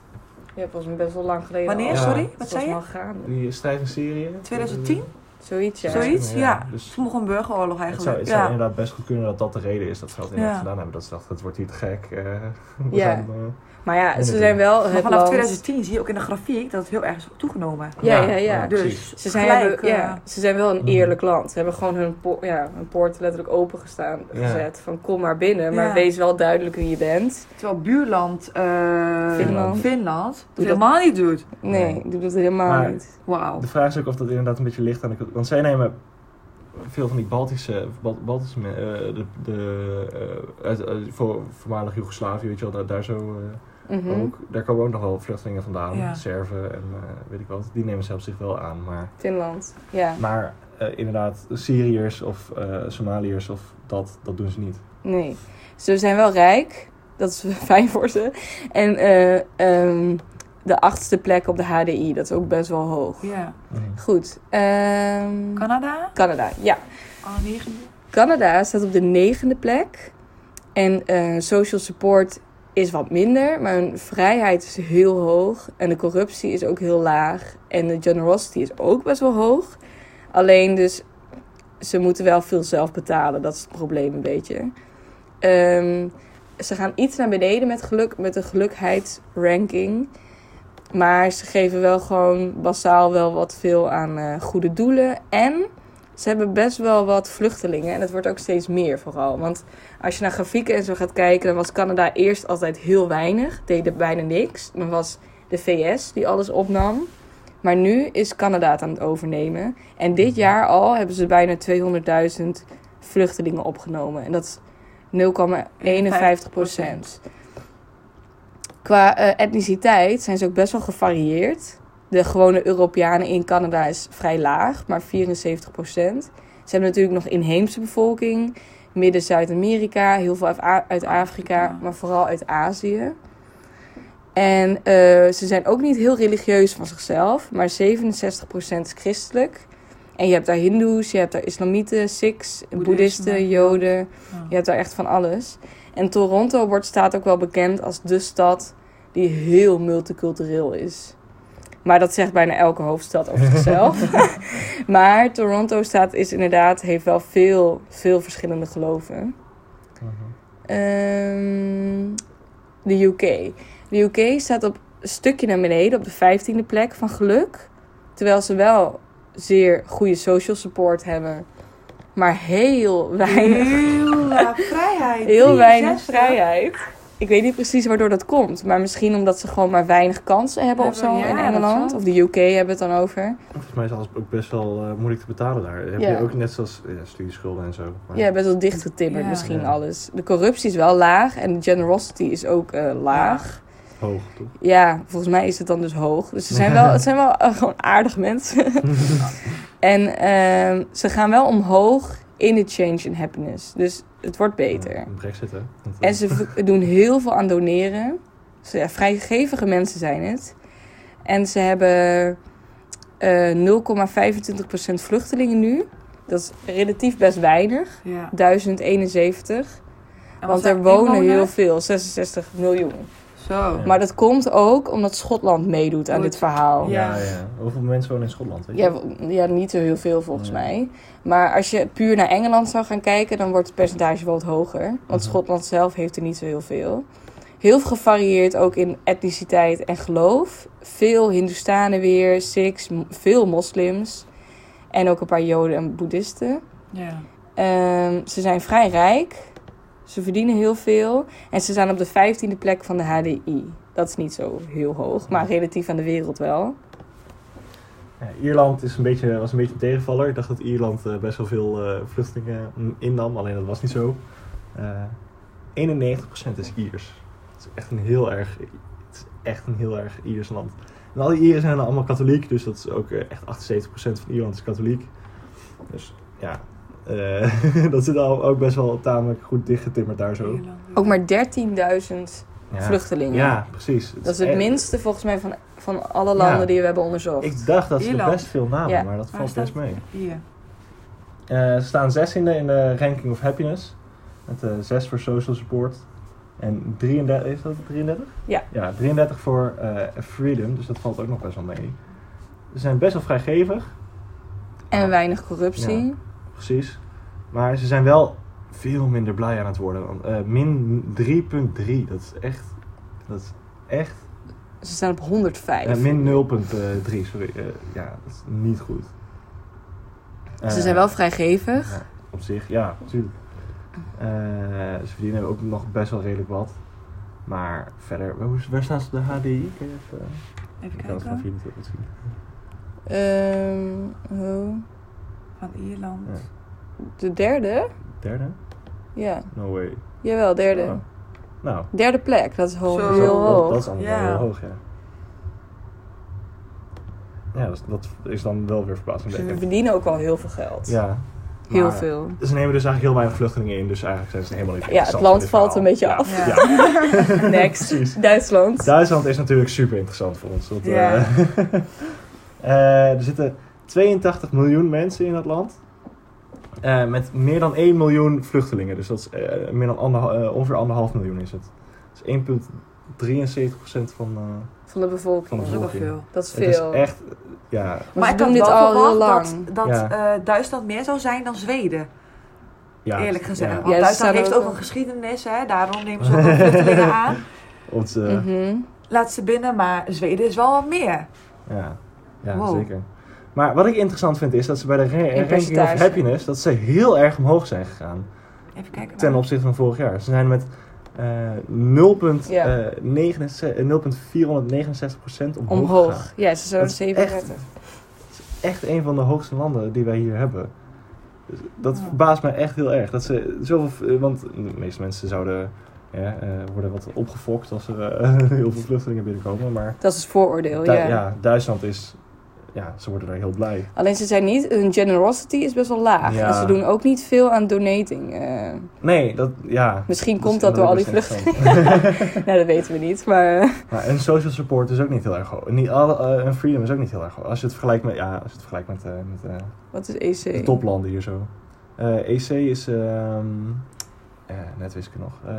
S1: Ja, het was best wel lang geleden.
S3: Wanneer?
S1: al.
S2: Ja.
S3: Sorry,
S1: Het
S3: wat
S1: was
S3: zei je?
S1: wel gaande.
S2: Die strijd in Syrië?
S3: 2010?
S1: Zoiets, ja.
S2: Sorry?
S3: Zoiets?
S2: Ja,
S3: Ja.
S2: dus-
S3: Het is nog een burgeroorlog
S2: Het zou,
S3: eigenlijk.
S2: het zou
S3: ja.
S2: inderdaad best goed kunnen dat dat de reden is dat ze dat inderdaad
S3: Ja.
S2: gedaan hebben. Dat ze dachten, het wordt hier te gek. eh, we
S1: Ja.
S2: gaan, eh,
S1: Maar ja, ze
S2: Inderdaad.
S1: zijn wel
S3: Maar
S1: Oh, het
S3: vanaf
S1: land...
S3: 2010 zie je ook in de grafiek dat het heel erg is toegenomen.
S1: Ja, ja, ja.
S2: maar
S3: dus
S2: precies.
S1: Ze zijn,
S3: gelijk,
S1: hebben- ja,
S3: eh,
S1: ze zijn wel een
S2: Mhm.
S1: eerlijk land. Ze hebben gewoon hun, po- ja, hun poort letterlijk opengestaan
S2: Ja.
S1: gezet. Van kom maar binnen, maar
S3: Ja.
S1: wees wel duidelijk wie je bent.
S3: terwijl buurland eh,
S1: Finland.
S3: Finland dat
S1: dat-
S3: helemaal niet doet.
S1: Nee,
S2: Nee.
S1: ik doe dat helemaal
S2: Maar-
S1: niet.
S3: Wauw.
S2: De vraag is ook of dat inderdaad een beetje ligt aan de... cultuur. Want zij nemen veel van die Baltische... Bal- Baltische men- eh, de, de, eh, uit, uit voor, voormalig Joegoslavië, weet je wel, daar, daar zo... eh,
S1: Mhm.
S2: Ook, daar komen ook nog wel vluchtelingen vandaan,
S3: Ja.
S2: Serven en eh, weet ik wat. Die nemen ze op zich wel aan. Maar,
S1: Finland, ja.
S2: maar eh, inderdaad, Syriërs of eh, Somaliërs of dat, dat doen ze niet.
S1: Nee. Ze zijn wel rijk. Dat is fijn voor ze. En eh, ehm, de achtste plek op de HDI, dat is ook best wel hoog.
S3: Ja.
S1: Goed. ehm,
S3: Canada?
S1: Canada, ja.
S3: Oh, negende.
S1: Canada staat op de negende plek. En eh, social support is wat minder, maar hun vrijheid is heel hoog. En de corruptie is ook heel laag. En de generosity is ook best wel hoog. Alleen dus, ze moeten wel veel zelf betalen. Dat is het probleem een beetje. Ehm, ze gaan iets naar beneden met, geluk, met de gelukheidsranking. Maar ze geven wel gewoon basaal wel wat veel aan eh, goede doelen. En ze hebben best wel wat vluchtelingen. En het wordt ook steeds meer vooral. Want als je naar grafieken en zo gaat kijken... dan was Canada eerst altijd heel weinig. Deden bijna niks. Dan was de VS die alles opnam. Maar nu is Canada het aan het overnemen. En dit jaar al hebben ze bijna 200.000 vluchtelingen opgenomen. En dat is 0,51 procent. Qua eh, etniciteit zijn ze ook best wel gevarieerd. De gewone Europeanen in Canada is vrij laag, maar 74 procent. Ze hebben natuurlijk nog inheemse bevolking, Midden-Zuid-Amerika, heel veel uit, A- uit Afrika,
S3: Afrika.
S1: maar vooral uit Azië. En eh, ze zijn ook niet heel religieus van zichzelf, maar 67% is christelijk. En je hebt daar Hindoes, je hebt daar Islamieten, Sikhs,
S3: Boeddhisme.
S1: Boeddhisten, Joden.
S3: Ja.
S1: Je hebt daar echt van alles. En Toronto wordt, staat ook wel bekend als de stad die heel multicultureel is. Maar dat zegt bijna elke hoofdstad over zichzelf. maar Toronto staat is inderdaad, heeft wel veel, veel verschillende geloven. Ehm, de UK. De UK staat op een stukje naar beneden, op de vijftiende plek van geluk. Terwijl ze wel zeer goede social support hebben, maar heel weinig,
S3: Heel laag vrijheid.
S1: heel weinig
S3: 63.
S1: vrijheid. Ik weet niet precies waardoor dat komt, maar misschien omdat ze gewoon maar weinig kansen hebben of zo
S3: Hebben, ja,
S1: in
S3: dat
S1: Engeland.
S3: zal.
S1: Of de UK hebben het dan over.
S2: Volgens mij is alles ook best wel eh, moeilijk te betalen daar. Heb
S1: Ja.
S2: je ook net zoals ja, studieschulden en zo. maar-
S1: Ja, best wel dichtgetimmerd
S3: Ja.
S1: misschien
S2: Ja.
S1: alles. De corruptie is wel laag en de generosity is ook eh, laag.
S2: Hoog, toch?
S1: Ja, volgens mij is het dan dus hoog. Dus ze zijn wel, het zijn wel eh, gewoon aardig mensen. en ehm, ze gaan wel omhoog interchange in happiness. Dus het wordt beter.
S2: Een brexit, hè? Want, eh,
S1: En ze v- doen heel veel aan doneren. Ze, ja, vrijgevige mensen zijn het. En ze hebben eh 0,25% vluchtelingen nu. Dat is relatief best weinig.
S3: Ja.
S1: 1071.
S3: En
S1: want
S3: wat
S1: er
S3: zijn
S1: wonen heel
S3: inwoners?
S1: veel, 66 miljoen.
S3: Zo.
S2: Ja.
S1: Maar dat komt ook omdat Schotland meedoet aan
S3: Goed.
S1: dit verhaal. Ja,
S2: ja, ja. Hoeveel mensen wonen in Schotland? Weet je?
S1: w- ja, niet zo heel veel volgens
S2: Nee.
S1: mij. Maar als je puur naar Engeland zou gaan kijken, dan wordt het percentage wel wat hoger. Want
S2: Mhm.
S1: Schotland zelf heeft er niet zo heel veel. Heel veel gevarieerd ook in etniciteit en geloof. Veel Hindoestanen weer, Sikhs, m- veel moslims. En ook een paar Joden en Boeddhisten.
S3: Ja.
S1: Ehm, ze zijn vrij rijk. Ze verdienen heel veel. En ze staan op de 15e plek van de HDI. Dat is niet zo heel hoog, maar relatief aan de wereld wel.
S2: Ja, Ierland is een beetje, was een beetje een tegenvaller. Ik dacht dat Ierland eh, best wel veel eh, vluchtelingen mm, innam, alleen dat was niet zo. Eh 91% is Iers. Het is echt een heel erg, het is echt een heel erg Iers land. En al die Ieren zijn dan allemaal katholiek, dus dat is ook eh, echt 78% van Ierland is katholiek. Dus ja, eh, dat zit al ook best wel tamelijk goed dichtgetimmerd daar zo.
S3: Ierland.
S1: Ook maar 13.000
S2: Ja.
S1: vluchtelingen.
S2: Ja, precies.
S1: Dat is het
S2: echt-
S1: minste volgens mij van, van alle landen
S2: Ja.
S1: die we hebben onderzocht.
S2: Ik dacht dat ze er
S3: Ierland.
S2: best veel namen,
S1: Ja.
S2: maar dat
S3: Waar
S2: valt
S3: staat-
S2: best mee.
S3: Hier.
S2: Eh, ze staan 16e in de ranking of happiness. Met eh 6 voor social support. En 33, is dat 33?
S1: Ja.
S2: Ja, 33 voor eh, freedom. Dus dat valt ook nog best wel mee. Ze zijn best wel vrijgevig,
S1: En weinig corruptie.
S2: precies. Maar ze zijn wel veel minder blij aan het worden. Want, eh, min 3,3, dat is echt. Dat is echt.
S1: Ze staan op 105.
S2: eh, min 0,3, sorry. Eh, ja, dat is niet goed.
S1: Ze
S2: Eh,
S1: Dus zijn wel vrijgevig.
S2: Ja, op zich, ja, natuurlijk. Eh, ze verdienen ook nog best wel redelijk wat. Maar verder, waar, hoe- waar staan ze op de HDI? Kun je even,
S3: Even
S2: ik kan het vanaf
S3: kijken.
S2: hier niet goed zien.
S1: Ehm, oh,
S3: Van Ierland.
S2: Ja.
S1: de derde?
S2: Derde?
S1: Ja,
S2: No way.
S1: jawel, derde.
S2: Oh. Nou,
S1: Derde plek, dat is ho-
S3: Zo.
S2: dus
S1: heel
S2: dat, dat,
S1: hoog.
S2: dat is allemaal
S3: Ja.
S2: wel heel hoog, ja. Ja, dat is, dat is dan wel weer
S1: Ze
S2: verbazingwekkend.
S1: Dus verdienen ook wel heel veel geld.
S2: Ja.
S1: Heel
S2: maar
S1: veel.
S2: Ze nemen dus eigenlijk heel weinig vluchtelingen in, dus eigenlijk zijn ze helemaal niet
S1: Ja, het
S2: interessant
S1: land valt
S2: in dit
S1: een
S2: verhaal.
S1: beetje
S2: Ja.
S1: af.
S3: Ja.
S2: Ja. Precies.
S1: Next, Duitsland.
S2: Duitsland is natuurlijk super interessant voor ons. want, eh,
S3: Ja.
S2: eh, er zitten 82 miljoen mensen in dat land. Eh, met meer dan 1 miljoen vluchtelingen. Dus dat is eh, meer dan anderha- eh, ongeveer anderhalf miljoen is het. Dat is 1,73% van, eh,
S1: van de
S2: van de
S1: bevolking.
S3: Dat is ook wel
S2: bevolking.
S3: veel.
S1: Dat is
S2: Het is
S1: veel.
S2: echt, eh, ja,
S1: Maar ze
S3: ik
S1: doen
S3: had
S1: dit
S3: wel
S1: al heel
S3: verwacht
S1: lang.
S3: dat, dat
S2: Ja.
S3: eh, Duitsland meer zou zijn dan Zweden.
S2: ja.
S3: Eerlijk gezegd.
S2: Ja,
S3: Want
S1: Ja, ze staan
S3: Duitsland heeft
S1: ook
S3: ook
S1: wel-
S3: een geschiedenis, hè? daarom nemen ze ook wel vluchtelingen aan.
S2: ons, eh,
S1: Mhm.
S3: Laat ze binnen, maar Zweden is wel wat meer.
S2: Ja, ja
S3: Wow.
S2: zeker. Maar wat ik interessant vind is dat ze bij de ra- ranking of
S1: percentage.
S2: happiness... dat ze heel erg omhoog zijn gegaan.
S3: Even kijken.
S2: ten opzichte van vorig jaar. Ze zijn met eh
S1: Ja.
S2: 0,69 eh, 0,469% omhoog. gegaan.
S1: Omhoog. Ja, ze zijn
S2: Dat
S1: op
S2: is echt-
S1: 37.
S2: Echt een van de hoogste landen die wij hier hebben. Dus dat
S3: Ja.
S2: verbaast mij echt heel erg. Dat ze zoveel, eh, want de meeste mensen zouden ja, eh, worden wat opgefokt als er eh, heel veel vluchtelingen binnenkomen. Maar
S1: Dat is vooroordeel,
S2: Du-
S1: ja.
S2: ja, Duitsland is, ja, ze worden daar heel blij.
S1: Alleen ze zijn niet, hun generosity is best wel laag.
S2: Ja.
S1: En ze doen ook niet veel aan donating. eh.
S2: Nee, dat, ja.
S1: misschien
S2: Dus
S1: komt dat door al die
S2: is
S1: vluchten.
S2: interessant.
S1: nou, dat weten we niet. Maar eh,
S2: Maar een social support is ook niet heel erg hoog. Niet alle, eh, en freedom is ook niet heel erg hoog. Als je het vergelijkt met, ja, als je het vergelijkt met, eh, met eh,
S1: wat is E
S2: de
S1: EC?
S2: toplanden hier zo. Eh, EC is, ehm, eh, net wist ik het nog. Eh,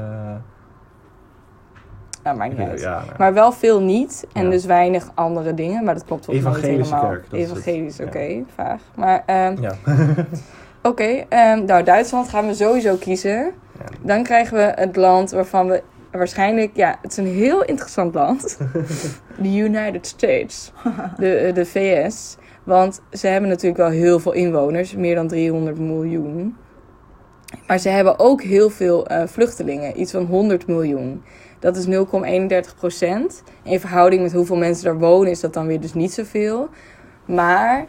S1: Nou, maakt
S2: ik
S1: niet
S2: weet-
S1: uit.
S2: ja, nou,
S1: Maar wel veel niet. En
S2: Ja.
S1: dus weinig andere dingen. Maar dat klopt volgens mij niet
S2: Evangelische
S1: helemaal.
S2: kerk, dat is het.
S1: Evangelisch,
S2: Ja.
S1: oké. Vaag. Maar ehm,
S2: ja.
S1: oké. ehm, nou, Duitsland gaan we sowieso kiezen.
S2: Ja.
S1: Dan krijgen we het land waarvan we waarschijnlijk, ja, het is een heel interessant land. De United States, de, eh, de VS. Want ze hebben natuurlijk wel heel veel inwoners, meer dan 300 miljoen. Maar ze hebben ook heel veel eh, vluchtelingen, iets van 100 miljoen. Dat is 0,31 procent. In verhouding met hoeveel mensen daar wonen is dat dan weer dus niet zoveel. Maar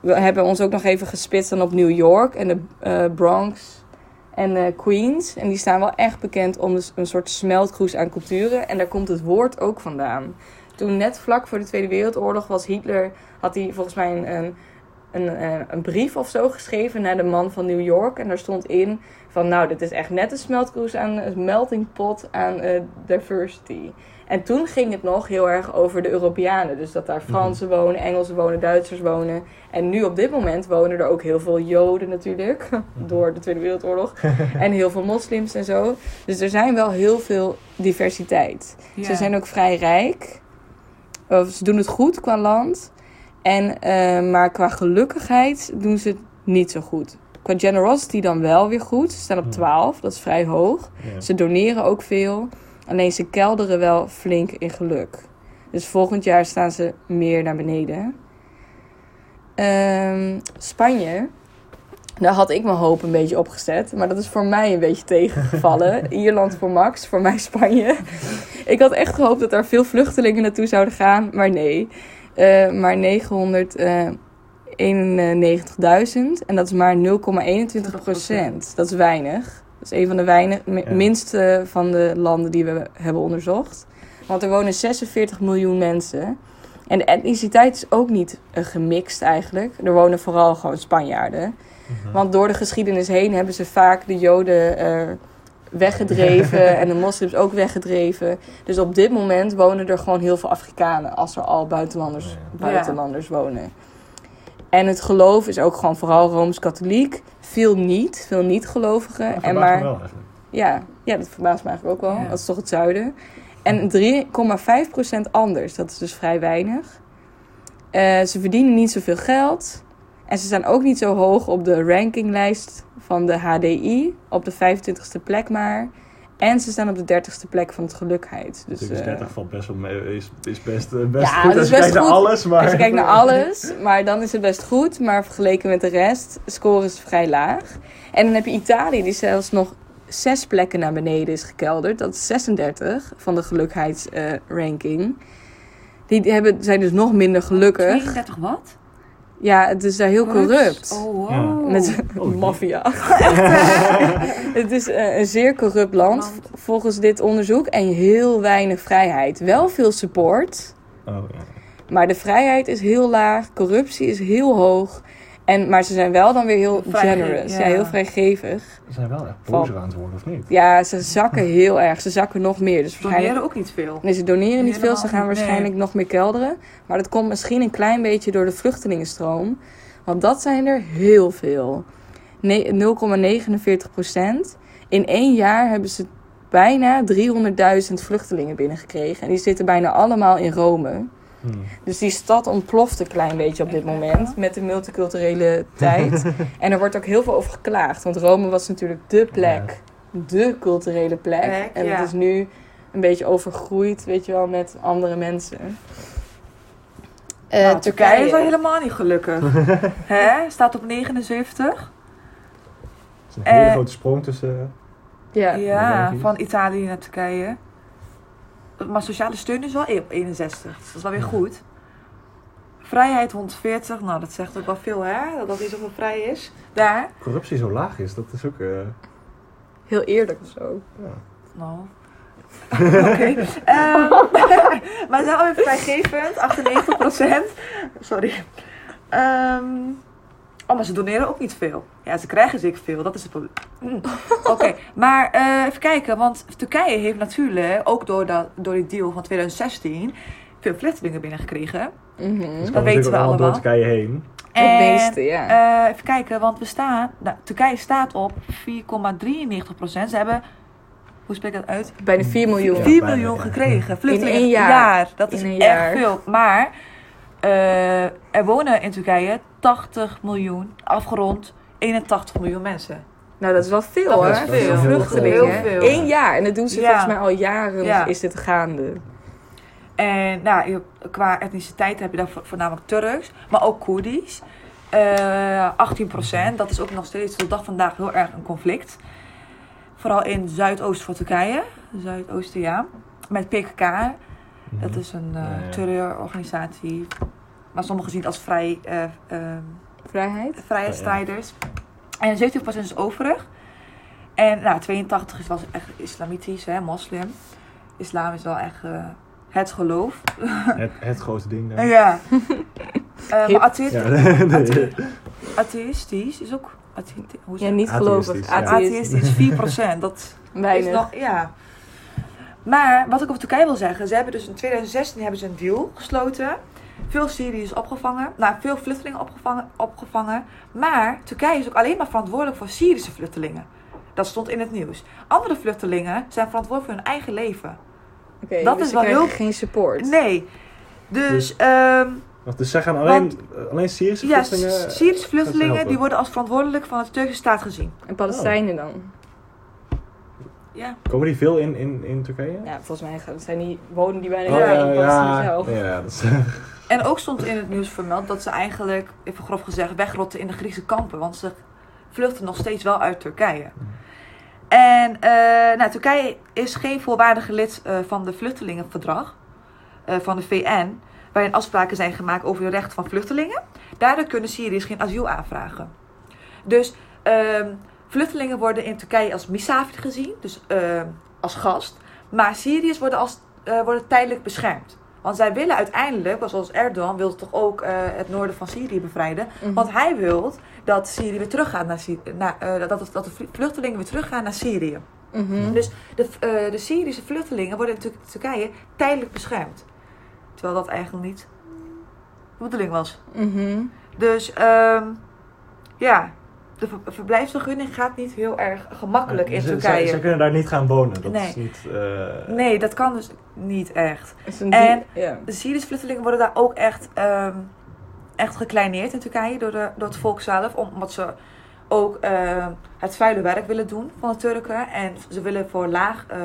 S1: we hebben ons ook nog even gespitst dan op New York en de eh, Bronx en eh, Queens. En die staan wel echt bekend om dus een soort smeltkroes aan culturen. En daar komt het woord ook vandaan. Toen net vlak voor de Tweede Wereldoorlog was Hitler, had hij volgens mij een, een een, eh, een brief of zo geschreven naar de man van New York. En daar stond in van nou, dit is echt net een smeltkroes aan een melting pot aan eh, diversity. En toen ging het nog heel erg over de Europeanen. Dus dat daar Fransen wonen, Engelsen wonen, Duitsers wonen. En nu op dit moment wonen er ook heel veel Joden natuurlijk.
S2: Mhm.
S1: door de Tweede Wereldoorlog. en heel veel moslims en zo. Dus er zijn wel heel veel diversiteit. Ze zijn ook vrij rijk. Of ze doen het goed qua land. En, eh, maar qua gelukkigheid doen ze het niet zo goed. Qua generosity dan wel weer goed. Ze staan
S2: Hmm.
S1: op 12, dat is vrij hoog.
S2: Ja.
S1: Ze doneren ook veel. Alleen ze kelderen wel flink in geluk. Dus volgend jaar staan ze meer naar beneden. Ehm, Spanje. Daar had ik mijn hoop een beetje opgezet. Maar dat is voor mij een beetje tegengevallen. Ierland voor Max, voor mij Spanje. ik had echt gehoopt dat er veel vluchtelingen naartoe zouden gaan. Maar nee. Eh, maar 991.000. En dat is maar 0,21 procent. Dat is weinig. Dat is een van de weinig, mi-
S2: Ja.
S1: minste van de landen die we hebben onderzocht. Want er wonen 46 miljoen mensen. En de etniciteit is ook niet eh, gemixt eigenlijk. Er wonen vooral gewoon Spanjaarden.
S2: Mhm.
S1: Want door de geschiedenis heen hebben ze vaak de Joden eh, weggedreven en de moslims ook weggedreven. Dus op dit moment wonen er gewoon heel veel Afrikanen als er al buitenlanders,
S2: Ja.
S1: buitenlanders wonen. En het geloof is ook gewoon vooral rooms-katholiek. Veel niet, veel niet-gelovigen.
S2: Dat
S1: eh, en
S2: verbaast
S1: maar dus,
S2: me wel eigenlijk.
S1: ja, ja, dat verbaast me eigenlijk ook wel.
S3: Ja.
S1: Dat is toch het zuiden. En 3,5% anders. Dat is dus vrij weinig. Eh, ze verdienen niet zoveel geld. En ze staan ook niet zo hoog op de rankinglijst van de HDI. Op de 25ste plek maar. En ze staan op de 30ste plek van het gelukheid. Dus,
S2: Natuurlijk is
S1: eh,
S2: 30 valt best wel mee, is, is best, eh, best
S1: Ja,
S2: goed
S1: dat is
S2: als je
S1: best
S2: kijkt naar
S1: goed.
S2: alles, maar...
S1: Als je kijkt Dus naar alles, maar dan is het best goed. Maar vergeleken met de rest, score is vrij laag. En dan heb je Italië, die zelfs nog zes plekken naar beneden is gekelderd. Dat is 36 van de gelukheidsranking. die die hebben, zijn dus nog minder gelukkig.
S3: 32 wat?
S1: Ja, het is daar heel corrupt.
S3: Oh, wow.
S2: Ja.
S1: Met
S2: Oh, die-
S1: maffia. het is eh, een zeer corrupt land,
S3: Land.
S1: v- volgens dit onderzoek. En heel weinig vrijheid. Wel veel support.
S2: Oh, ja.
S1: Maar de vrijheid is heel laag, corruptie is heel hoog. En, maar ze zijn wel dan weer heel
S3: Vrijge-
S1: generous. Ja.
S3: ja.
S1: heel vrijgevig.
S2: Ze zijn wel echt
S1: Val-
S2: bozer aan het worden, of niet?
S1: Ja, ze zakken heel erg. Ze zakken nog meer. Dus waarschijnlijk.
S3: Doneren ook niet veel.
S1: Nee, ze doneren niet veel.
S3: Helemaal
S1: Ze gaan
S3: niet, nee.
S1: waarschijnlijk nog meer kelderen. Maar dat komt misschien een klein beetje door de vluchtelingenstroom. Want dat zijn er heel veel. Ne- 0,49 procent. In één jaar hebben ze bijna 300.000 vluchtelingen binnengekregen. En die zitten bijna allemaal in Rome.
S2: Hmm.
S1: Dus die stad ontploft een klein beetje op dit moment met de multiculturele tijd. en er wordt ook heel veel over geklaagd, want Rome was natuurlijk dé plek, dé culturele plek.
S3: Plek,
S1: en
S3: ja.
S1: het is nu een beetje overgroeid, weet je wel, met andere mensen. Eh,
S3: Nou, Turkije is wel helemaal niet gelukkig. Hè? Staat op 79.
S2: Het is een hele
S3: Eh,
S2: grote sprong tussen...
S1: Ja.
S3: Ja,
S2: België.
S3: van Italië naar Turkije. Maar sociale steun is wel op 61. Dus dat is wel weer goed. Vrijheid 140. Nou, dat zegt ook wel veel, hè? Dat dat niet zoveel vrij is. Daar.
S2: Corruptie zo laag is, dat is ook... eh,
S1: heel eerlijk of zo.
S2: ja.
S3: Nou. Oké. Ehm, maar wel even vrijgevend. 98 Sorry. Ehm, oh, maar ze doneren ook niet veel. Ja, ze krijgen zeker veel. Dat is het probleem. Mm. Oké, maar eh, even kijken. Want Turkije heeft natuurlijk, ook door, dat, door die deal van 2016... veel vluchtelingen binnengekregen.
S1: Mhm.
S2: Dus
S3: Dat
S2: komen natuurlijk
S3: weten we
S2: ook
S3: allemaal.
S2: door Turkije heen.
S1: De
S3: En,
S1: meeste, ja.
S3: eh, even kijken, want we staan... Nou, Turkije staat op 4,93 Ze hebben... Hoe spreek ik dat uit?
S1: Bijna 4 miljoen.
S2: Ja,
S3: 4
S2: bijna,
S3: miljoen
S2: ja.
S3: gekregen. Vluchtelingen
S1: één jaar.
S3: Dat
S1: In
S3: is
S1: een
S3: echt
S1: jaar.
S3: veel. Maar eh, er wonen in Turkije 80 miljoen, afgerond 81 miljoen mensen.
S1: Nou, dat is wel veel
S3: Dat
S1: hoor.
S3: is veel.
S1: Vluchtelingen.
S3: Heel veel.
S1: Eén jaar. En dat doen ze
S3: Ja.
S1: volgens mij al jaren
S3: Ja.
S1: is dit gaande.
S3: En nou, je- qua etniciteit heb je daar vo- voornamelijk Turks, maar ook Koerdisch. Eh 18%, dat is ook nog steeds tot de dag vandaag heel erg een conflict. Vooral in Zuidoost van Turkije, Zuidoosten ja. Met PKK, Dat is een eh,
S2: Ja, ja.
S3: terreurorganisatie. Maar sommigen zien het als vrij, eh, ehm,
S1: Vrijheid?
S3: vrijheidsstrijders. En 70% is overig. En nou, 82 is wel echt islamitisch, hè, moslim. Islam is wel echt eh, het geloof.
S2: Het, het grote ding daar.
S3: Ja. Eh, maar atheï-
S2: Ja, nee.
S3: atheïstisch is ook... atheï- hoe is
S1: Ja,
S3: het?
S1: niet gelovig.
S2: Atheïstisch, ja.
S1: Atheïst.
S3: Atheïstisch, 4%. Dat is
S1: Weinig.
S3: nog... Ja. Maar wat ik over Turkije wil zeggen, ze hebben dus in 2016 hebben ze een deal gesloten. Veel Syriërs opgevangen, nou veel vluchtelingen opgevangen, opgevangen. Maar Turkije is ook alleen maar verantwoordelijk voor Syrische vluchtelingen. Dat stond in het nieuws. Andere vluchtelingen zijn verantwoordelijk voor hun eigen leven.
S1: Oké,
S3: Dat
S1: dus
S3: is
S1: ze
S3: wel
S1: krijgen
S3: heel-
S1: geen support.
S3: Nee. Dus,
S2: Dus-
S3: ehm
S2: Wacht, Dus zij gaan alleen, alleen Syrische
S3: ja,
S2: vluchtelingen...
S3: Syrische vluchtelingen
S2: helpen.
S3: die worden als verantwoordelijk van de Turkse staat gezien.
S1: En Palestijnen dan?
S3: Ja.
S2: Komen die veel in, in, in Turkije?
S1: Ja, volgens mij gaan- zijn die, wonen die bijna
S2: Oh,
S1: helemaal
S2: ja,
S1: in Palestina zelf.
S2: ja, ja, dat is...
S3: En ook stond in het nieuws vermeld dat ze eigenlijk, even grof gezegd, wegrotten in de Griekse kampen. Want ze vluchten nog steeds wel uit Turkije. En eh, nou, Turkije is geen volwaardige lid eh, van de Vluchtelingenverdrag eh, van de VN. Waarin afspraken zijn gemaakt over de rechten van vluchtelingen. Daardoor kunnen Syriërs geen asiel aanvragen. Dus ehm, vluchtelingen worden in Turkije als misafir gezien, dus ehm, als gast. Maar Syriërs worden, als, eh, worden tijdelijk beschermd. Want zij willen uiteindelijk, zoals Erdogan wil toch ook eh, het noorden van Syrië bevrijden.
S1: Mhm.
S3: Want hij wil dat Syrië weer teruggaat naar Syrië. Naar, eh, dat, dat de vlu- vluchtelingen weer teruggaan naar Syrië.
S2: Hm.
S1: Mhm.
S3: Dus de, eh, de Syrische vluchtelingen worden in Tur- Turkije tijdelijk beschermd. Terwijl dat eigenlijk niet de bedoeling was.
S1: Mhm.
S3: Dus ehm, ja, de ver- verblijfsvergunning gaat niet heel erg gemakkelijk in
S2: Eh, Ze- Ze,
S3: Turkije.
S2: ze kunnen daar niet gaan wonen. Dat
S3: Nee.
S2: is niet... eh,
S3: Nee, dat kan dus niet echt.
S1: Is een
S3: En-
S1: die- ja.
S3: De Syrische vluchtelingen worden daar ook echt, ehm, echt gekleineerd in Turkije door, de, door het volk zelf. Omdat ze ook ehm, het vuile werk willen doen van de Turken. En ze willen voor laag, eh,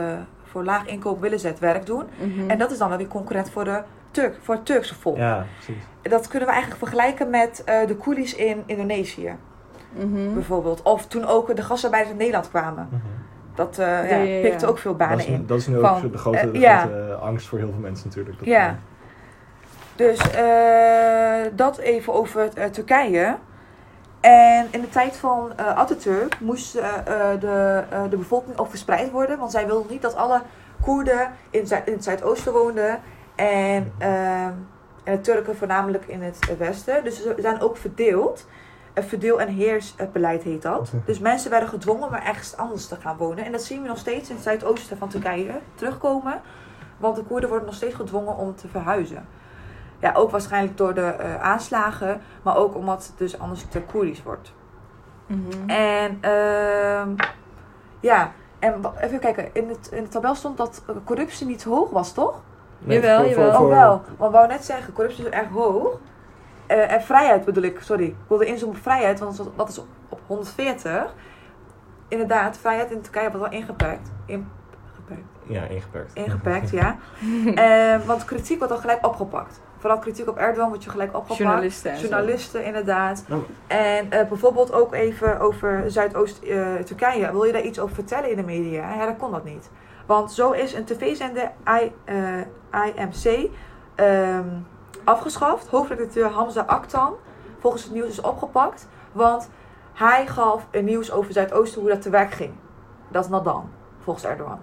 S3: voor laag inkoop willen ze het werk doen.
S1: Mhm.
S3: En dat is dan wel weer concurrent voor, de Turk, voor het Turkse volk.
S2: Ja, precies.
S3: Dat kunnen we eigenlijk vergelijken met eh, de coolies in Indonesië
S1: Mhm.
S3: bijvoorbeeld. Of toen ook de gastarbeiders in Nederland kwamen.
S2: Mhm.
S3: Dat eh, ja,
S1: Ja, ja, ja.
S3: pikte ook veel banen
S2: dat, is,
S3: in.
S2: dat is nu ook
S3: Van,
S2: de grote, de
S3: eh, ja.
S2: grote angst voor heel veel mensen natuurlijk. Dat
S3: Ja. Dus eh, dat even over eh, Turkije. En in de tijd van eh, Atatürk moest eh, eh, de, eh, de bevolking ook verspreid worden. Want zij wilde niet dat alle Koerden in, Zu- in het Zuidoosten woonden. En, eh, en de Turken voornamelijk in het eh, Westen. Dus ze zijn ook verdeeld. Een verdeel- en heersbeleid heet dat. Dus mensen werden gedwongen om ergens anders te gaan wonen. En dat zien we nog steeds in het Zuidoosten van Turkije terugkomen. Want de Koerden worden nog steeds gedwongen om te verhuizen. Ja, ook waarschijnlijk door de eh, aanslagen, maar ook omdat het dus anders te Koerdisch wordt.
S1: Mhm.
S3: En ehm, ja, en wa- even kijken, in, het, in de tabel stond dat eh, corruptie niet hoog was, toch?
S2: eh,
S1: Jawel, jawel.
S3: Oh wel, want ik wou net zeggen, corruptie is erg hoog. Eh, en vrijheid bedoel ik, sorry. Ik wilde inzoomen op vrijheid, want dat- dat is op, op 140. Inderdaad, vrijheid in Turkije wordt wel ingeperkt. Ingeperkt.
S2: Ja, ingeperkt.
S3: Ingeperkt, ja. Eh, want kritiek wordt al gelijk opgepakt. Vooral kritiek op Erdogan wordt je gelijk opgepakt.
S1: Journalisten. en zo.
S3: Journalisten, inderdaad.
S4: Oh.
S2: Nou,
S3: En eh, bijvoorbeeld ook even over Zuidoost-Turkije. Wil je daar iets over vertellen in de media? Ja, dan kon dat niet. Want zo is een tv-zender I, eh, IMC ehm, afgeschaft. Hoofdredacteur Hamza Aktan volgens het nieuws is opgepakt. Want hij gaf een nieuws over Zuidoosten hoe dat te werk ging. Dat is Nadan, volgens Erdogan.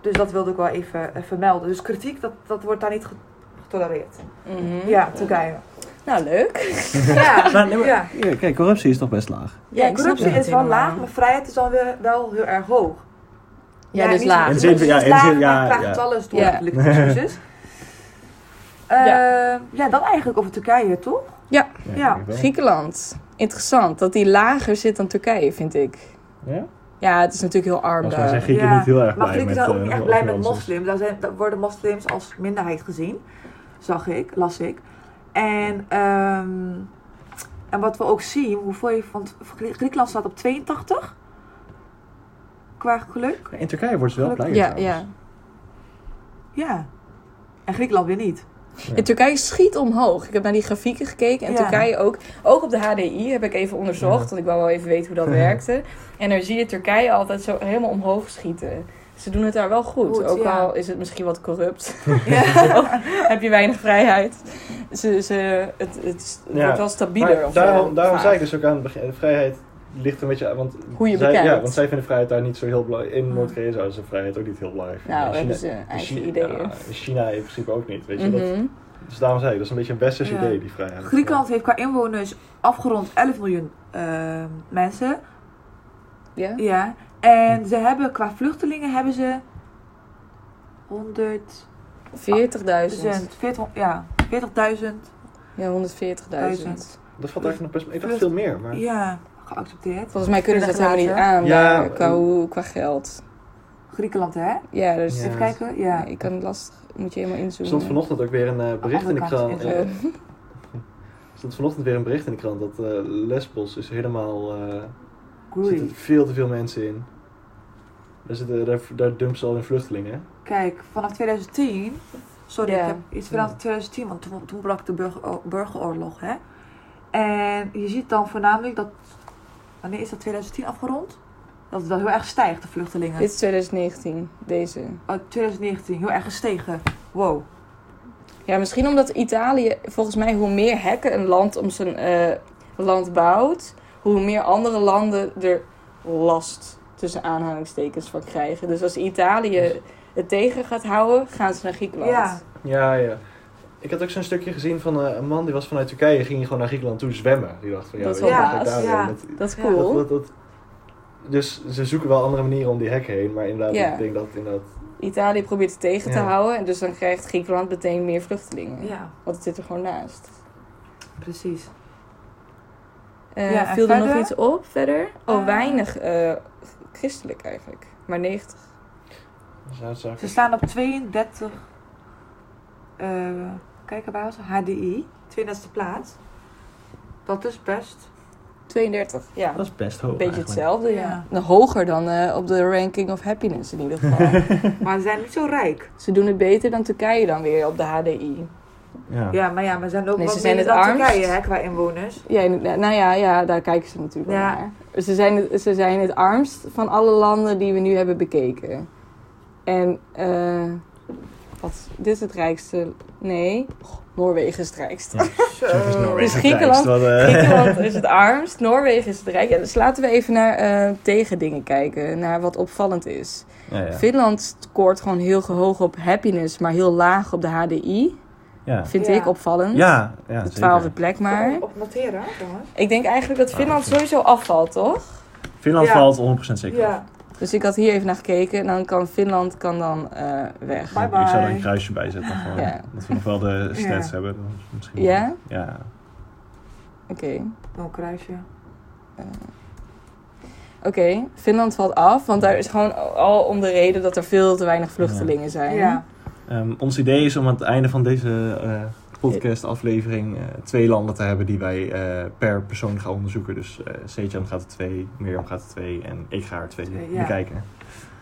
S3: Dus dat wilde ik wel even eh, vermelden. Dus kritiek, dat, dat wordt daar niet ge- getolereerd.
S1: Mhm.
S3: Ja, Turkije.
S1: Nou, leuk.
S3: Ja,
S4: Maar, nee, maar-
S3: ja.
S4: Ja, kijk, corruptie is nog best laag.
S3: Ja,
S1: ik snap
S3: corruptie
S1: het
S3: is wel
S1: helemaal.
S3: laag, maar vrijheid is dan weer wel heel erg hoog.
S1: Ja, dus
S3: niet-
S1: laag.
S2: In
S3: Het
S2: zin
S3: is
S2: van- ja,
S3: laag,
S2: in
S3: maar
S2: zin- ja,
S3: ik vraag
S2: ja.
S3: het alles door,
S1: Ja.
S3: natuurlijk, excuses. Eh, ja, dat eigenlijk over Turkije, toch?
S2: Ja.
S3: Ja.
S2: ik wel.
S1: Griekenland. Interessant dat die lager zit dan Turkije, vind ik.
S2: Ja?
S1: Ja, het is natuurlijk heel arm
S2: Volgens mij zijn
S1: daar.
S2: Grieken
S3: Ja,
S2: niet heel erg
S3: Maar
S2: blij
S3: Grieken
S2: met...
S3: zijn ook
S2: eh,
S3: niet echt
S2: of
S3: blij met
S2: Nederlanders.
S3: moslims. Daar, zijn, daar worden moslims als minderheid gezien. Zag ik, las ik. En, ehm, en wat we ook zien, hoeveel je, want Grie- Griekenland staat op 82 qua geluk.
S2: In Turkije wordt ze wel blij
S1: Ja, ja.
S3: Ja. En Griekenland weer niet.
S1: En Turkije schiet omhoog. Ik heb naar die grafieken gekeken en
S3: Ja.
S1: Turkije ook. Ook op de HDI heb ik even onderzocht,
S2: Ja.
S1: want ik wou wel even weten hoe dat werkte. En dan zie je Turkije altijd zo helemaal omhoog schieten. Ze doen het daar wel goed.
S3: Goed,
S1: ook
S3: ja.
S1: al is het misschien wat corrupt.
S3: Ja.
S1: heb je weinig vrijheid. Ze, ze, het het
S2: Ja.
S1: wordt wel stabieler. of zo,
S2: daarom, dus- daarom
S1: vaak.
S2: zei ik dus ook aan het begin, de vrijheid ligt een beetje aan, want
S1: Hoe je
S2: zij, ja,
S1: bekijkt.
S2: want zij vinden vrijheid daar niet zo heel belangrijk. In
S3: Ah.
S2: Noord-Korea zouden ze vrijheid ook niet heel belangrijk vinden.
S1: Nou,
S2: In
S1: hebben
S2: China-
S1: ze een
S2: in
S1: eigen
S2: Chi-
S1: ideeën.
S2: ja, in China in principe ook niet, weet je. dat,
S1: Mhm.
S2: dus daarom zei ik, dat is een beetje een westers
S3: Ja.
S2: idee, die vrijheid.
S3: Griekenland heeft qua inwoners afgerond 11 miljoen eh, mensen.
S1: Ja?
S3: Ja, en ze hebben qua vluchtelingen hebben ze 100,
S2: Dus
S1: 40.000.
S3: 40, ja, 40.000
S1: Ja, 140.000.
S3: Duizend.
S2: Dat valt eigenlijk nog best... Ik dacht veel meer, maar...
S3: ja, geaccepteerd.
S1: Volgens mij kunnen ze dat helemaal niet aan
S2: Ja,
S1: daar, qua,
S2: en-
S1: hoe- qua geld.
S3: Griekenland, hè?
S1: Ja, dus
S2: Ja.
S3: Even kijken, ja.
S1: ja. ik kan het lastig, moet je helemaal
S2: Er
S1: inzoomen.
S2: stond vanochtend ook weer een eh, bericht in de
S3: Andere
S2: krant.
S3: kant
S1: is
S2: eh,
S1: ook.
S2: Er stond vanochtend weer een bericht in de krant dat eh, Lesbos is helemaal... eh, er zitten
S3: Groei.
S2: veel te veel mensen in. Daar, zitten, daar, daar dumpen ze al in vluchtelingen.
S3: Kijk, vanaf 2010, sorry,
S1: Ja.
S3: ik heb iets veranderd in 2010, want toen, toen brak de burger- burgeroorlog, hè? En je ziet dan voornamelijk dat, wanneer is dat 2010 afgerond? Dat het wel heel erg stijgt, de vluchtelingen.
S1: Dit is 2019, deze.
S3: Oh, 2019, heel erg gestegen. Wow.
S1: Ja, misschien omdat Italië, volgens mij, hoe meer hekken een land om zijn eh, land bouwt, hoe meer andere landen er last tussen aanhalingstekens van krijgen. Dus als Italië het tegen gaat houden, gaan ze naar Griekenland.
S3: Ja.
S2: Ja, ja. Ik had ook zo'n stukje gezien van eh, een man die was vanuit Turkije, ging gewoon naar Griekenland toe zwemmen. Die dacht van, ja,
S1: Dat is
S2: weet je,
S1: wel
S2: wat ga ik
S1: baas,
S2: daar
S3: ja.
S2: doen? Dat-
S1: Dat is
S3: Ja.
S1: cool.
S2: dat- dat- dat- dus ze zoeken wel andere manieren om die hek heen, maar inderdaad,
S1: Ja.
S2: ik denk dat inderdaad...
S1: Italië probeert het tegen te
S2: Ja.
S1: houden en dus dan krijgt Griekenland meteen meer vluchtelingen.
S3: Ja,
S1: Want het zit er gewoon naast.
S3: precies.
S1: Eh,
S3: Ja, en
S1: viel er nog
S3: verder?
S1: iets op verder? Oh,
S3: Eh.
S1: weinig eh, christelijk eigenlijk. Maar 90.
S2: Zuid-Zuid-
S3: Ze staan op 32. eh kijk er bij ons, HDI. 32e plaats. Dat is best.
S1: 32. Ja,
S4: Dat is best hoog
S1: een beetje
S4: eigenlijk.
S1: hetzelfde. Ja.
S3: Ja.
S1: Nou, Hoger dan eh, op de ranking of happiness in ieder geval.
S3: Maar ze zijn niet zo rijk.
S1: ze doen het beter dan Turkije dan weer op de HDI.
S2: Ja.
S3: Ja, maar ja, maar ze zijn ook
S1: Nee,
S3: wat
S1: ze zijn
S3: minder
S1: het
S3: dan
S1: armst.
S3: Turkije hè, qua inwoners.
S1: Ja, in- nou ja, ja, daar kijken ze natuurlijk wel
S3: Ja.
S1: naar. Ze zijn, het- ze zijn het armst van alle landen die we nu hebben bekeken. En eh wat, dit is het rijkste. Nee, Oh, Noorwegen is het rijkst.
S4: Zo is Noorwegen
S1: Dus
S4: het rijkst,
S1: Griekenland-
S4: wat, eh,
S1: Griekenland is het armst, Noorwegen is het rijk. Ja, dus laten we even naar eh, tegendingen kijken, naar wat opvallend is.
S4: ja, ja.
S1: Finland scoort gewoon heel hoog op happiness, maar heel laag op de HDI.
S4: Ja.
S1: Vind
S3: Ja.
S1: ik opvallend.
S4: Ja, ja,
S1: de
S4: zeker.
S1: twaalfde plek maar.
S3: Op noteren, hè, jongens.
S1: Ik denk eigenlijk dat Finland sowieso afvalt, toch?
S4: Finland
S3: Ja.
S4: valt 100% zeker.
S3: Ja,
S1: Dus ik had hier even naar gekeken en dan kan Finland kan dan eh, weg.
S3: Bye bye.
S4: Ik zou er een kruisje bij zetten. Gewoon,
S1: Ja.
S4: Dat we nog wel de stats
S3: Ja.
S4: hebben. dan Misschien.
S1: Ja?
S4: Ja.
S1: Oké.
S3: nog een kruisje.
S1: Oké, Finland valt af, want daar is gewoon al om de reden dat er veel te weinig vluchtelingen zijn.
S3: Ja.
S4: Ehm, ons idee is om aan het einde van deze eh podcast-aflevering eh, twee landen te hebben die wij eh, per persoon gaan onderzoeken. Dus eh Sejan gaat er twee, Mirjam gaat er twee en ik ga er twee,
S3: Twee, ja.
S4: bekijken.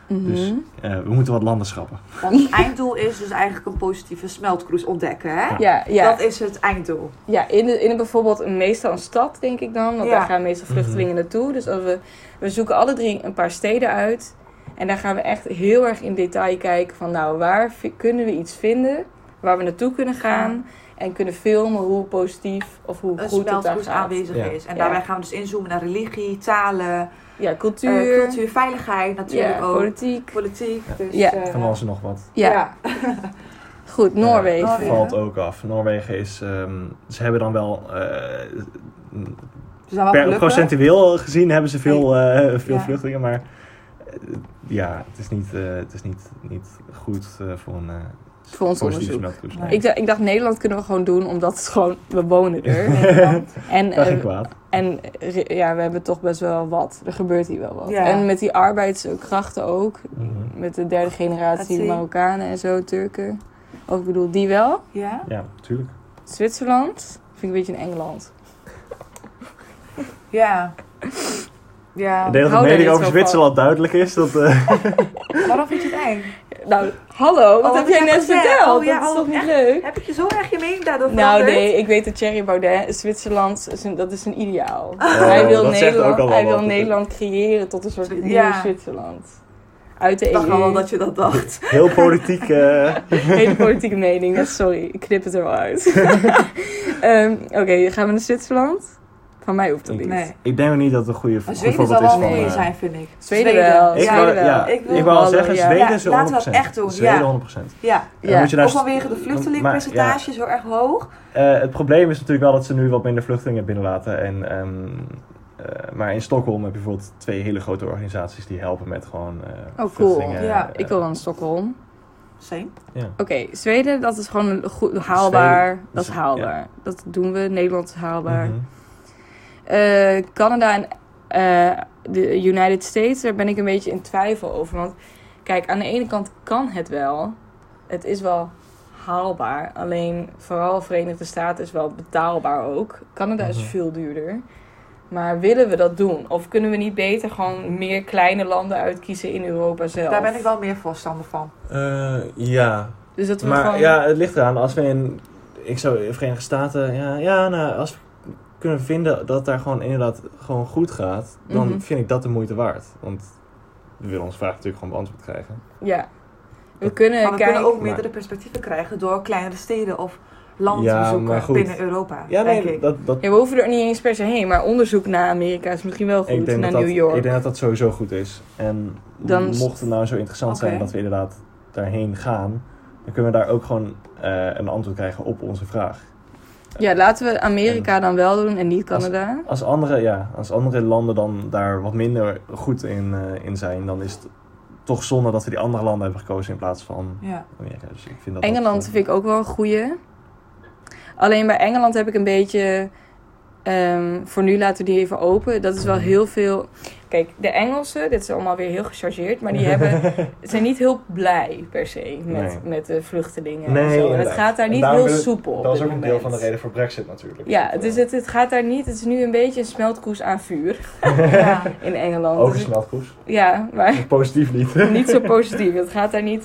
S1: Mhm.
S4: Dus- Eh, we moeten wat landen schrappen.
S3: Want het einddoel is dus eigenlijk een positieve smeltkroes ontdekken, hè?
S1: ja, ja.
S3: Dat is het einddoel.
S1: Ja, in, de, in een bijvoorbeeld een- meestal een stad, denk ik dan. Want
S3: Ja.
S1: daar gaan meestal vluchtelingen naartoe. Dus als we, we zoeken alle drie een paar steden uit. En daar gaan we echt heel erg in detail kijken van... nou, waar vi- kunnen we iets vinden waar we naartoe kunnen gaan... en kunnen filmen hoe positief of hoe
S3: Een
S1: goed het daar
S3: smeltkroes
S1: gaat.
S3: aanwezig
S2: Ja.
S3: is. En
S1: Ja.
S3: daarbij gaan we dus inzoomen naar religie, talen,
S1: Ja,
S3: eh,
S1: cultuur,
S3: cultuur, veiligheid natuurlijk
S1: ja,
S3: ook.
S1: politiek.
S3: Politiek.
S4: Ja.
S3: Dus,
S1: Ja.
S3: eh,
S4: Van alles en nog wat.
S1: Ja,
S3: ja.
S1: goed, Noorwegen.
S4: Eh,
S3: Noorwegen.
S4: valt ook af. Noorwegen is... ehm, ze hebben dan wel... eh,
S3: Ze zijn wel
S4: per,
S3: Dus gelukkig.
S4: procentueel gezien hebben ze veel, eh, veel
S3: Ja.
S4: vluchtelingen, maar... eh, ja, het is niet, eh, het is niet, niet goed eh, voor een... eh,
S1: Voor ons
S4: positieve
S1: onderzoek.
S4: smeltkroes.
S3: Nee.
S1: Ik, dacht- ik dacht, Nederland kunnen we gewoon doen, omdat het gewoon, we wonen er.
S3: Nederland.
S1: en
S4: Kan geen
S1: eh,
S4: kwaad.
S1: En eh, re- ja, we hebben toch best wel wat. Er gebeurt hier wel wat.
S3: Ja.
S1: En met die arbeidskrachten ook.
S4: Mhm.
S1: Met de derde
S3: Dat
S1: generatie
S3: zie je.
S1: Marokkanen en zo, Turken. Of ik bedoel, die wel.
S3: Ja?
S4: Ja, tuurlijk.
S1: Zwitserland. Vind ik een beetje in Engeland.
S3: Ja. Ja.
S4: Ik denk dat de
S1: hou daar
S4: mening
S1: niet
S4: over
S1: zo
S4: Zwitserland duidelijk is. Dat, eh,
S3: Waarom vind je het eng?
S1: Nou, hallo, wat
S3: Oh,
S1: heb
S3: wat
S1: jij
S3: heb ik
S1: net
S3: gezegd?
S1: verteld?
S3: Oh, ja,
S1: dat is
S3: oh,
S1: toch niet
S3: echt?
S1: leuk?
S3: Heb ik je zo erg je mening daardoor
S1: Nou
S3: veranderd?
S1: nee, ik weet dat Thierry Baudet, Zwitserland, is een- dat is een ideaal.
S4: Oh,
S1: hij wil,
S4: dat zegt ook al
S1: Nederland,
S4: wel
S1: hij wil
S4: wat.
S1: Nederland creëren tot een soort nieuw
S3: Ja.
S1: Zwitserland. Uit de E
S3: Ik
S1: EU.
S3: dacht al wel dat je dat dacht.
S4: heel politiek. eh,
S1: Hele politieke mening. Ja, sorry, ik knip het er wel uit. Ehm, Oké, gaan we naar Zwitserland. Van mij hoeft dat
S2: Ik-
S1: niet.
S3: Nee.
S2: Ik denk ook niet dat het een goede
S3: Maar
S2: goed
S3: Zweden
S2: voorbeeld
S3: zal
S2: is
S3: wel
S2: van...
S3: mee
S2: eh,
S3: zijn, vind ik.
S1: Zweden wel.
S2: Ik
S1: Zweden
S2: wil,
S1: wel.
S2: ja,
S3: Ik
S2: ik
S3: wil
S2: wil,
S1: ballen,
S2: zeggen,
S1: ja.
S3: Ja,
S2: Zweden is 100%.
S3: laten we het echt doen,
S2: Zweden
S3: ja.
S2: 100%.
S3: Ja.
S2: Dan moet je nou daar
S3: Ook vanwege de vluchtelingenpercentages heel erg hoog.
S2: Eh, het probleem is natuurlijk wel dat ze nu wat minder vluchtelingen binnenlaten. En, ehm, eh, maar in Stockholm heb je bijvoorbeeld twee hele grote organisaties die helpen met gewoon eh
S1: cool.
S2: vluchtelingen.
S3: Oh, Ja,
S2: eh,
S1: Ik wil dan Stockholm.
S3: Same.
S2: ja.
S1: Oké, Zweden, dat is gewoon een goed, haalbaar. dat is
S2: ja.
S1: haalbaar. Dat doen we. Nederland is haalbaar.
S2: Mhm.
S1: Eh, Canada en eh, de United States, daar ben ik een beetje in twijfel over. Want kijk, aan de ene kant kan het wel. Het is wel haalbaar. Alleen vooral Verenigde Staten is wel betaalbaar ook. Canada is
S2: Mhm.
S1: veel duurder. Maar willen we dat doen? Of kunnen we niet beter gewoon meer kleine landen uitkiezen in Europa zelf?
S3: Daar ben ik wel meer voorstander van.
S2: Eh, ja,
S1: Dus dat we
S2: maar
S1: gewoon...
S2: ja, het ligt eraan. Als we in, ik zou in Verenigde Staten, ja, ja nou, als we kunnen vinden dat daar gewoon inderdaad gewoon goed gaat, dan
S1: Mhm.
S2: vind ik dat de moeite waard. Want we willen onze vraag natuurlijk gewoon beantwoord krijgen.
S1: Ja. We kunnen
S3: Maar we
S1: kijken...
S3: kunnen ook
S2: maar-
S3: meerdere perspectieven krijgen door kleinere steden of landen
S2: Ja,
S3: te
S2: maar
S3: zoeken
S2: goed.
S3: binnen Europa.
S2: Ja,
S3: denk
S2: nee,
S3: ik.
S2: dat, dat,
S1: Ja, we hoeven er niet eens per se heen, maar onderzoek naar Amerika is misschien wel goed.
S2: ik, denk
S1: naar
S2: dat dat,
S1: New York.
S2: ik denk dat dat sowieso goed is. En
S1: Dan is-
S2: mocht het nou zo interessant zijn
S3: Oké.
S2: dat we inderdaad daarheen gaan, dan kunnen we daar ook gewoon eh, een antwoord krijgen op onze vraag.
S1: Ja, laten we Amerika dan wel doen en niet Canada.
S2: Als andere, ja, als andere landen dan daar wat minder goed in, eh, in zijn, dan is het toch zonde dat we die andere landen hebben gekozen in plaats van
S3: Ja.
S2: Amerika. Dus ik vind dat
S1: Engeland
S2: dat, eh,
S1: vind ik ook wel een goeie. Alleen bij Engeland heb ik een beetje... ehm, voor nu laten we die even open. Dat is wel heel veel... Kijk, de Engelsen, dit is allemaal weer heel gechargeerd, maar die hebben,
S5: Oh,
S1: zijn niet heel blij per se met,
S2: Nee.
S1: met de vluchtelingen en
S2: Nee,
S1: zo. En het
S2: inderdaad.
S1: gaat daar
S5: En
S1: niet
S5: daarom
S1: heel
S5: willen-
S1: soepel op
S5: Dat is
S1: dit
S5: ook een deel van de
S1: moment.
S5: reden voor Brexit natuurlijk.
S1: Ja,
S5: Dat,
S1: dus
S5: eh,
S1: het, het gaat daar niet. Het is nu een beetje een smeltkoes aan vuur
S3: ja.
S1: in Engeland.
S2: Ook
S1: Dus
S2: een
S1: ik-
S2: smeltkoes.
S1: ja, maar
S2: Positief niet.
S1: niet zo positief. Het gaat daar niet.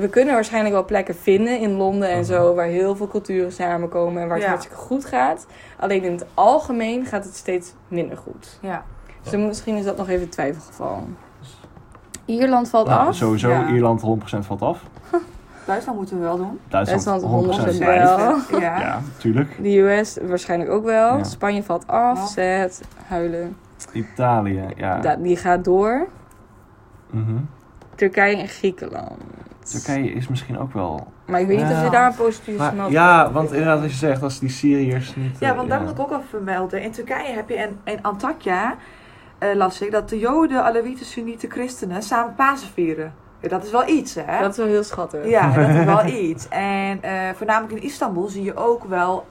S1: We kunnen waarschijnlijk wel plekken vinden in Londen en zo, waar heel veel culturen samenkomen en waar het
S3: Ja.
S1: hartstikke goed gaat. Alleen in het algemeen gaat het steeds minder goed.
S3: ja.
S1: Dus dan moet- misschien is dat nog even een twijfelgeval.
S2: Dus-
S1: Ierland valt
S2: Nou,
S1: af.
S2: sowieso,
S3: Ja.
S2: Ierland 100% valt af.
S3: Duitsland moeten we wel doen.
S1: Duitsland
S2: Duitsland 100%
S1: 100%
S2: blijft.
S1: wel.
S3: Ja.
S2: Ja, tuurlijk.
S1: De US waarschijnlijk ook wel.
S2: Ja.
S1: Spanje valt af.
S3: Ja.
S1: Zet, huilen.
S2: Italië, ja.
S1: Da- die gaat door.
S2: Mhm.
S1: Turkije en Griekenland.
S2: Turkije is misschien ook wel
S1: Maar ik weet niet of
S2: Ja.
S1: je daar een positieve
S2: Maar,
S1: smelt.
S2: ja, want inderdaad, als je zegt, als die Syriërs niet.
S3: Ja,
S2: eh,
S3: want daar moet ik ook even vermelden. In Turkije heb je in, in Antakya, eh, las ik, dat de Joden, Alawieten, Sunnieten, Christenen samen Pasen vieren. Ja, dat is wel iets, hè?
S1: Dat is wel heel schattig.
S3: Ja, dat is wel iets. En eh, voornamelijk in Istanbul zie je ook wel,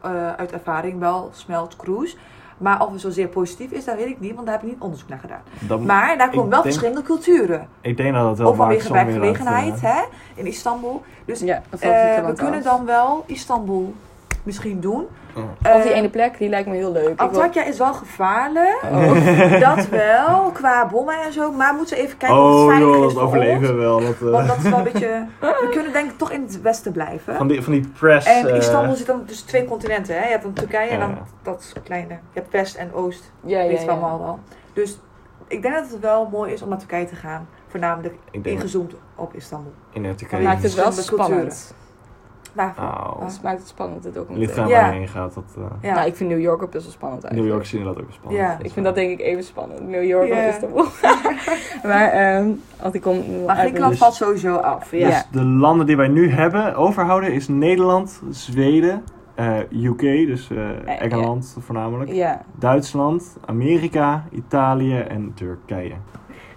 S3: eh, uit ervaring, wel smeltcruise. Maar of het zozeer positief is, dat weet ik niet, want daar heb ik niet onderzoek naar gedaan.
S2: Dan-
S3: Maar daar komen
S2: ik denk-
S3: wel verschillende culturen.
S2: ik denk dat dat wel
S3: Ook
S2: waard is
S3: vanwege
S2: om inderdaad,
S3: werkgelegenheid,
S2: eh,
S3: hè? In Istanbul. Dus
S1: Ja, dat valt
S3: eh,
S1: Griekenland
S3: we kunnen
S1: af.
S3: dan wel Istanbul misschien doen.
S2: Oh.
S1: Of die
S3: Eh,
S1: ene plek, die lijkt me heel leuk. Ik wil-
S3: Antakya is wel gevaarlijk,
S1: Oh.
S3: dat wel, qua bommen en zo. Maar we moeten even kijken of het
S2: Oh joh,
S3: veilig is
S2: dat
S3: voor
S2: overleven we
S3: ons.
S2: wel. Dat, eh,
S3: Want dat is wel een beetje... We kunnen denk ik toch in het westen blijven.
S2: van, die, van die press.
S3: en
S2: eh,
S3: Istanbul zit dan tussen twee continenten. Hè? Je hebt dan Turkije en
S2: Ja.
S3: dan dat kleine. Je hebt West en Oost.
S1: Ja, ja,
S3: weet je
S1: ja.
S3: allemaal wel. Dus ik denk dat het wel mooi is om naar Turkije te gaan. Voornamelijk
S2: ik denk
S3: ingezoomd op Istanbul.
S2: in het
S1: Dat
S2: Turkije.
S1: maakt het Oh, wel
S3: Verschillende
S1: spannend.
S3: Waarvoor?
S2: Au.
S1: Dat maakt het spannend, dit ook om
S2: Ligt
S1: te-
S2: eraan
S3: Oh. Ja.
S2: waar je heen gaat. Dat, eh,
S3: Ja.
S1: Nou, ik vind New York ook best wel spannend
S2: New
S1: eigenlijk.
S2: York is inderdaad ook wel spannend.
S3: Ja.
S2: dat is
S1: Ik vind
S2: waar.
S1: dat denk ik even spannend. New York
S3: Ja.
S1: of Istanbul. maar, ehm want ik kom...
S3: maar
S1: uit-
S3: Griekenland
S2: dus-
S3: valt sowieso af. Ja.
S1: Ja.
S2: Dus de landen die wij nu hebben overhouden is Nederland, Zweden, eh, UK, dus eh,
S1: ja.
S2: Engeland voornamelijk.
S1: Ja.
S2: Duitsland, Amerika, Italië en Turkije.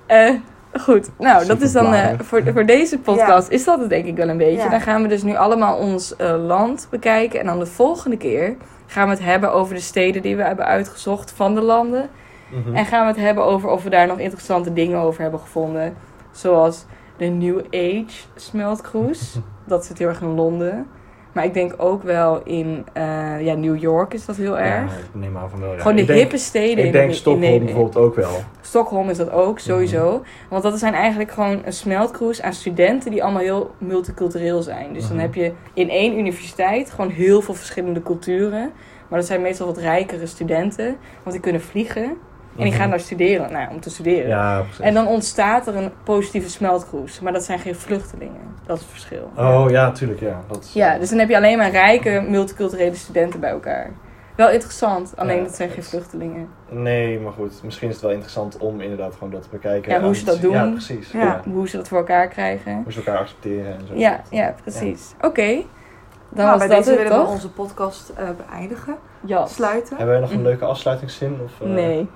S1: Eh, goed, nou dat is dan eh,
S2: Superbladen.
S1: voor, voor deze podcast is dat het denk ik wel een beetje.
S3: Ja.
S1: Dan gaan we dus nu allemaal ons eh, land bekijken. En dan de volgende keer gaan we het hebben over de steden die we hebben uitgezocht van de landen.
S2: Mhm. Hm.
S1: En gaan we het hebben over of we daar nog interessante dingen over hebben gevonden. Zoals de New Age smeltcruise. Dat zit heel erg in Londen. Maar ik denk ook wel in eh, ja, New York is dat heel erg.
S2: Ja, ik neem aan van wel. ja.
S1: Gewoon de
S2: Ik denk-
S1: hippe steden in,
S5: Ik denk
S1: in
S5: Stockholm
S1: Nederland.
S5: bijvoorbeeld ook wel.
S1: Stockholm is dat ook, sowieso. Want dat zijn eigenlijk gewoon een smeltcruise aan studenten die allemaal heel multicultureel zijn. Dus dan
S2: Mhm.
S1: heb je in één universiteit gewoon heel veel verschillende culturen. Maar dat zijn meestal wat rijkere studenten, want die kunnen vliegen. En die
S2: Mhm.
S1: gaan daar studeren, nou, om te studeren.
S2: Ja, precies.
S1: En dan ontstaat er een positieve smeltcruise. Maar dat zijn geen vluchtelingen. Dat is het verschil.
S2: Oh.
S1: dus
S5: Oh ja, tuurlijk, ja. Dat is,
S1: Ja, dus dan heb je alleen maar rijke multiculturele studenten bij elkaar. Wel interessant, alleen
S2: Ja,
S1: het zijn geen
S2: het-
S1: vluchtelingen.
S2: Nee, maar goed. Misschien is het wel interessant om inderdaad gewoon dat te bekijken.
S1: Ja, hoe
S2: Aan
S1: ze
S2: te
S1: dat
S2: zien- Ja,
S1: doen.
S2: precies.
S3: Ja.
S2: Ja.
S1: Hoe ze dat voor elkaar krijgen.
S2: Hoe ze elkaar accepteren en zo.
S1: Ja, ja precies. Oké, dan
S3: Nou,
S1: was
S3: bij
S1: dat
S3: deze
S1: het,
S3: willen we
S1: toch?
S3: onze podcast eh, beëindigen,
S1: Ja.
S3: sluiten.
S2: Hebben wij nog een leuke Eh. afsluitingszin? Of, eh,
S1: Nee.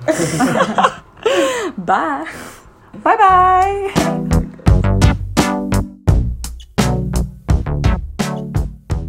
S1: Bye.
S3: Bye bye!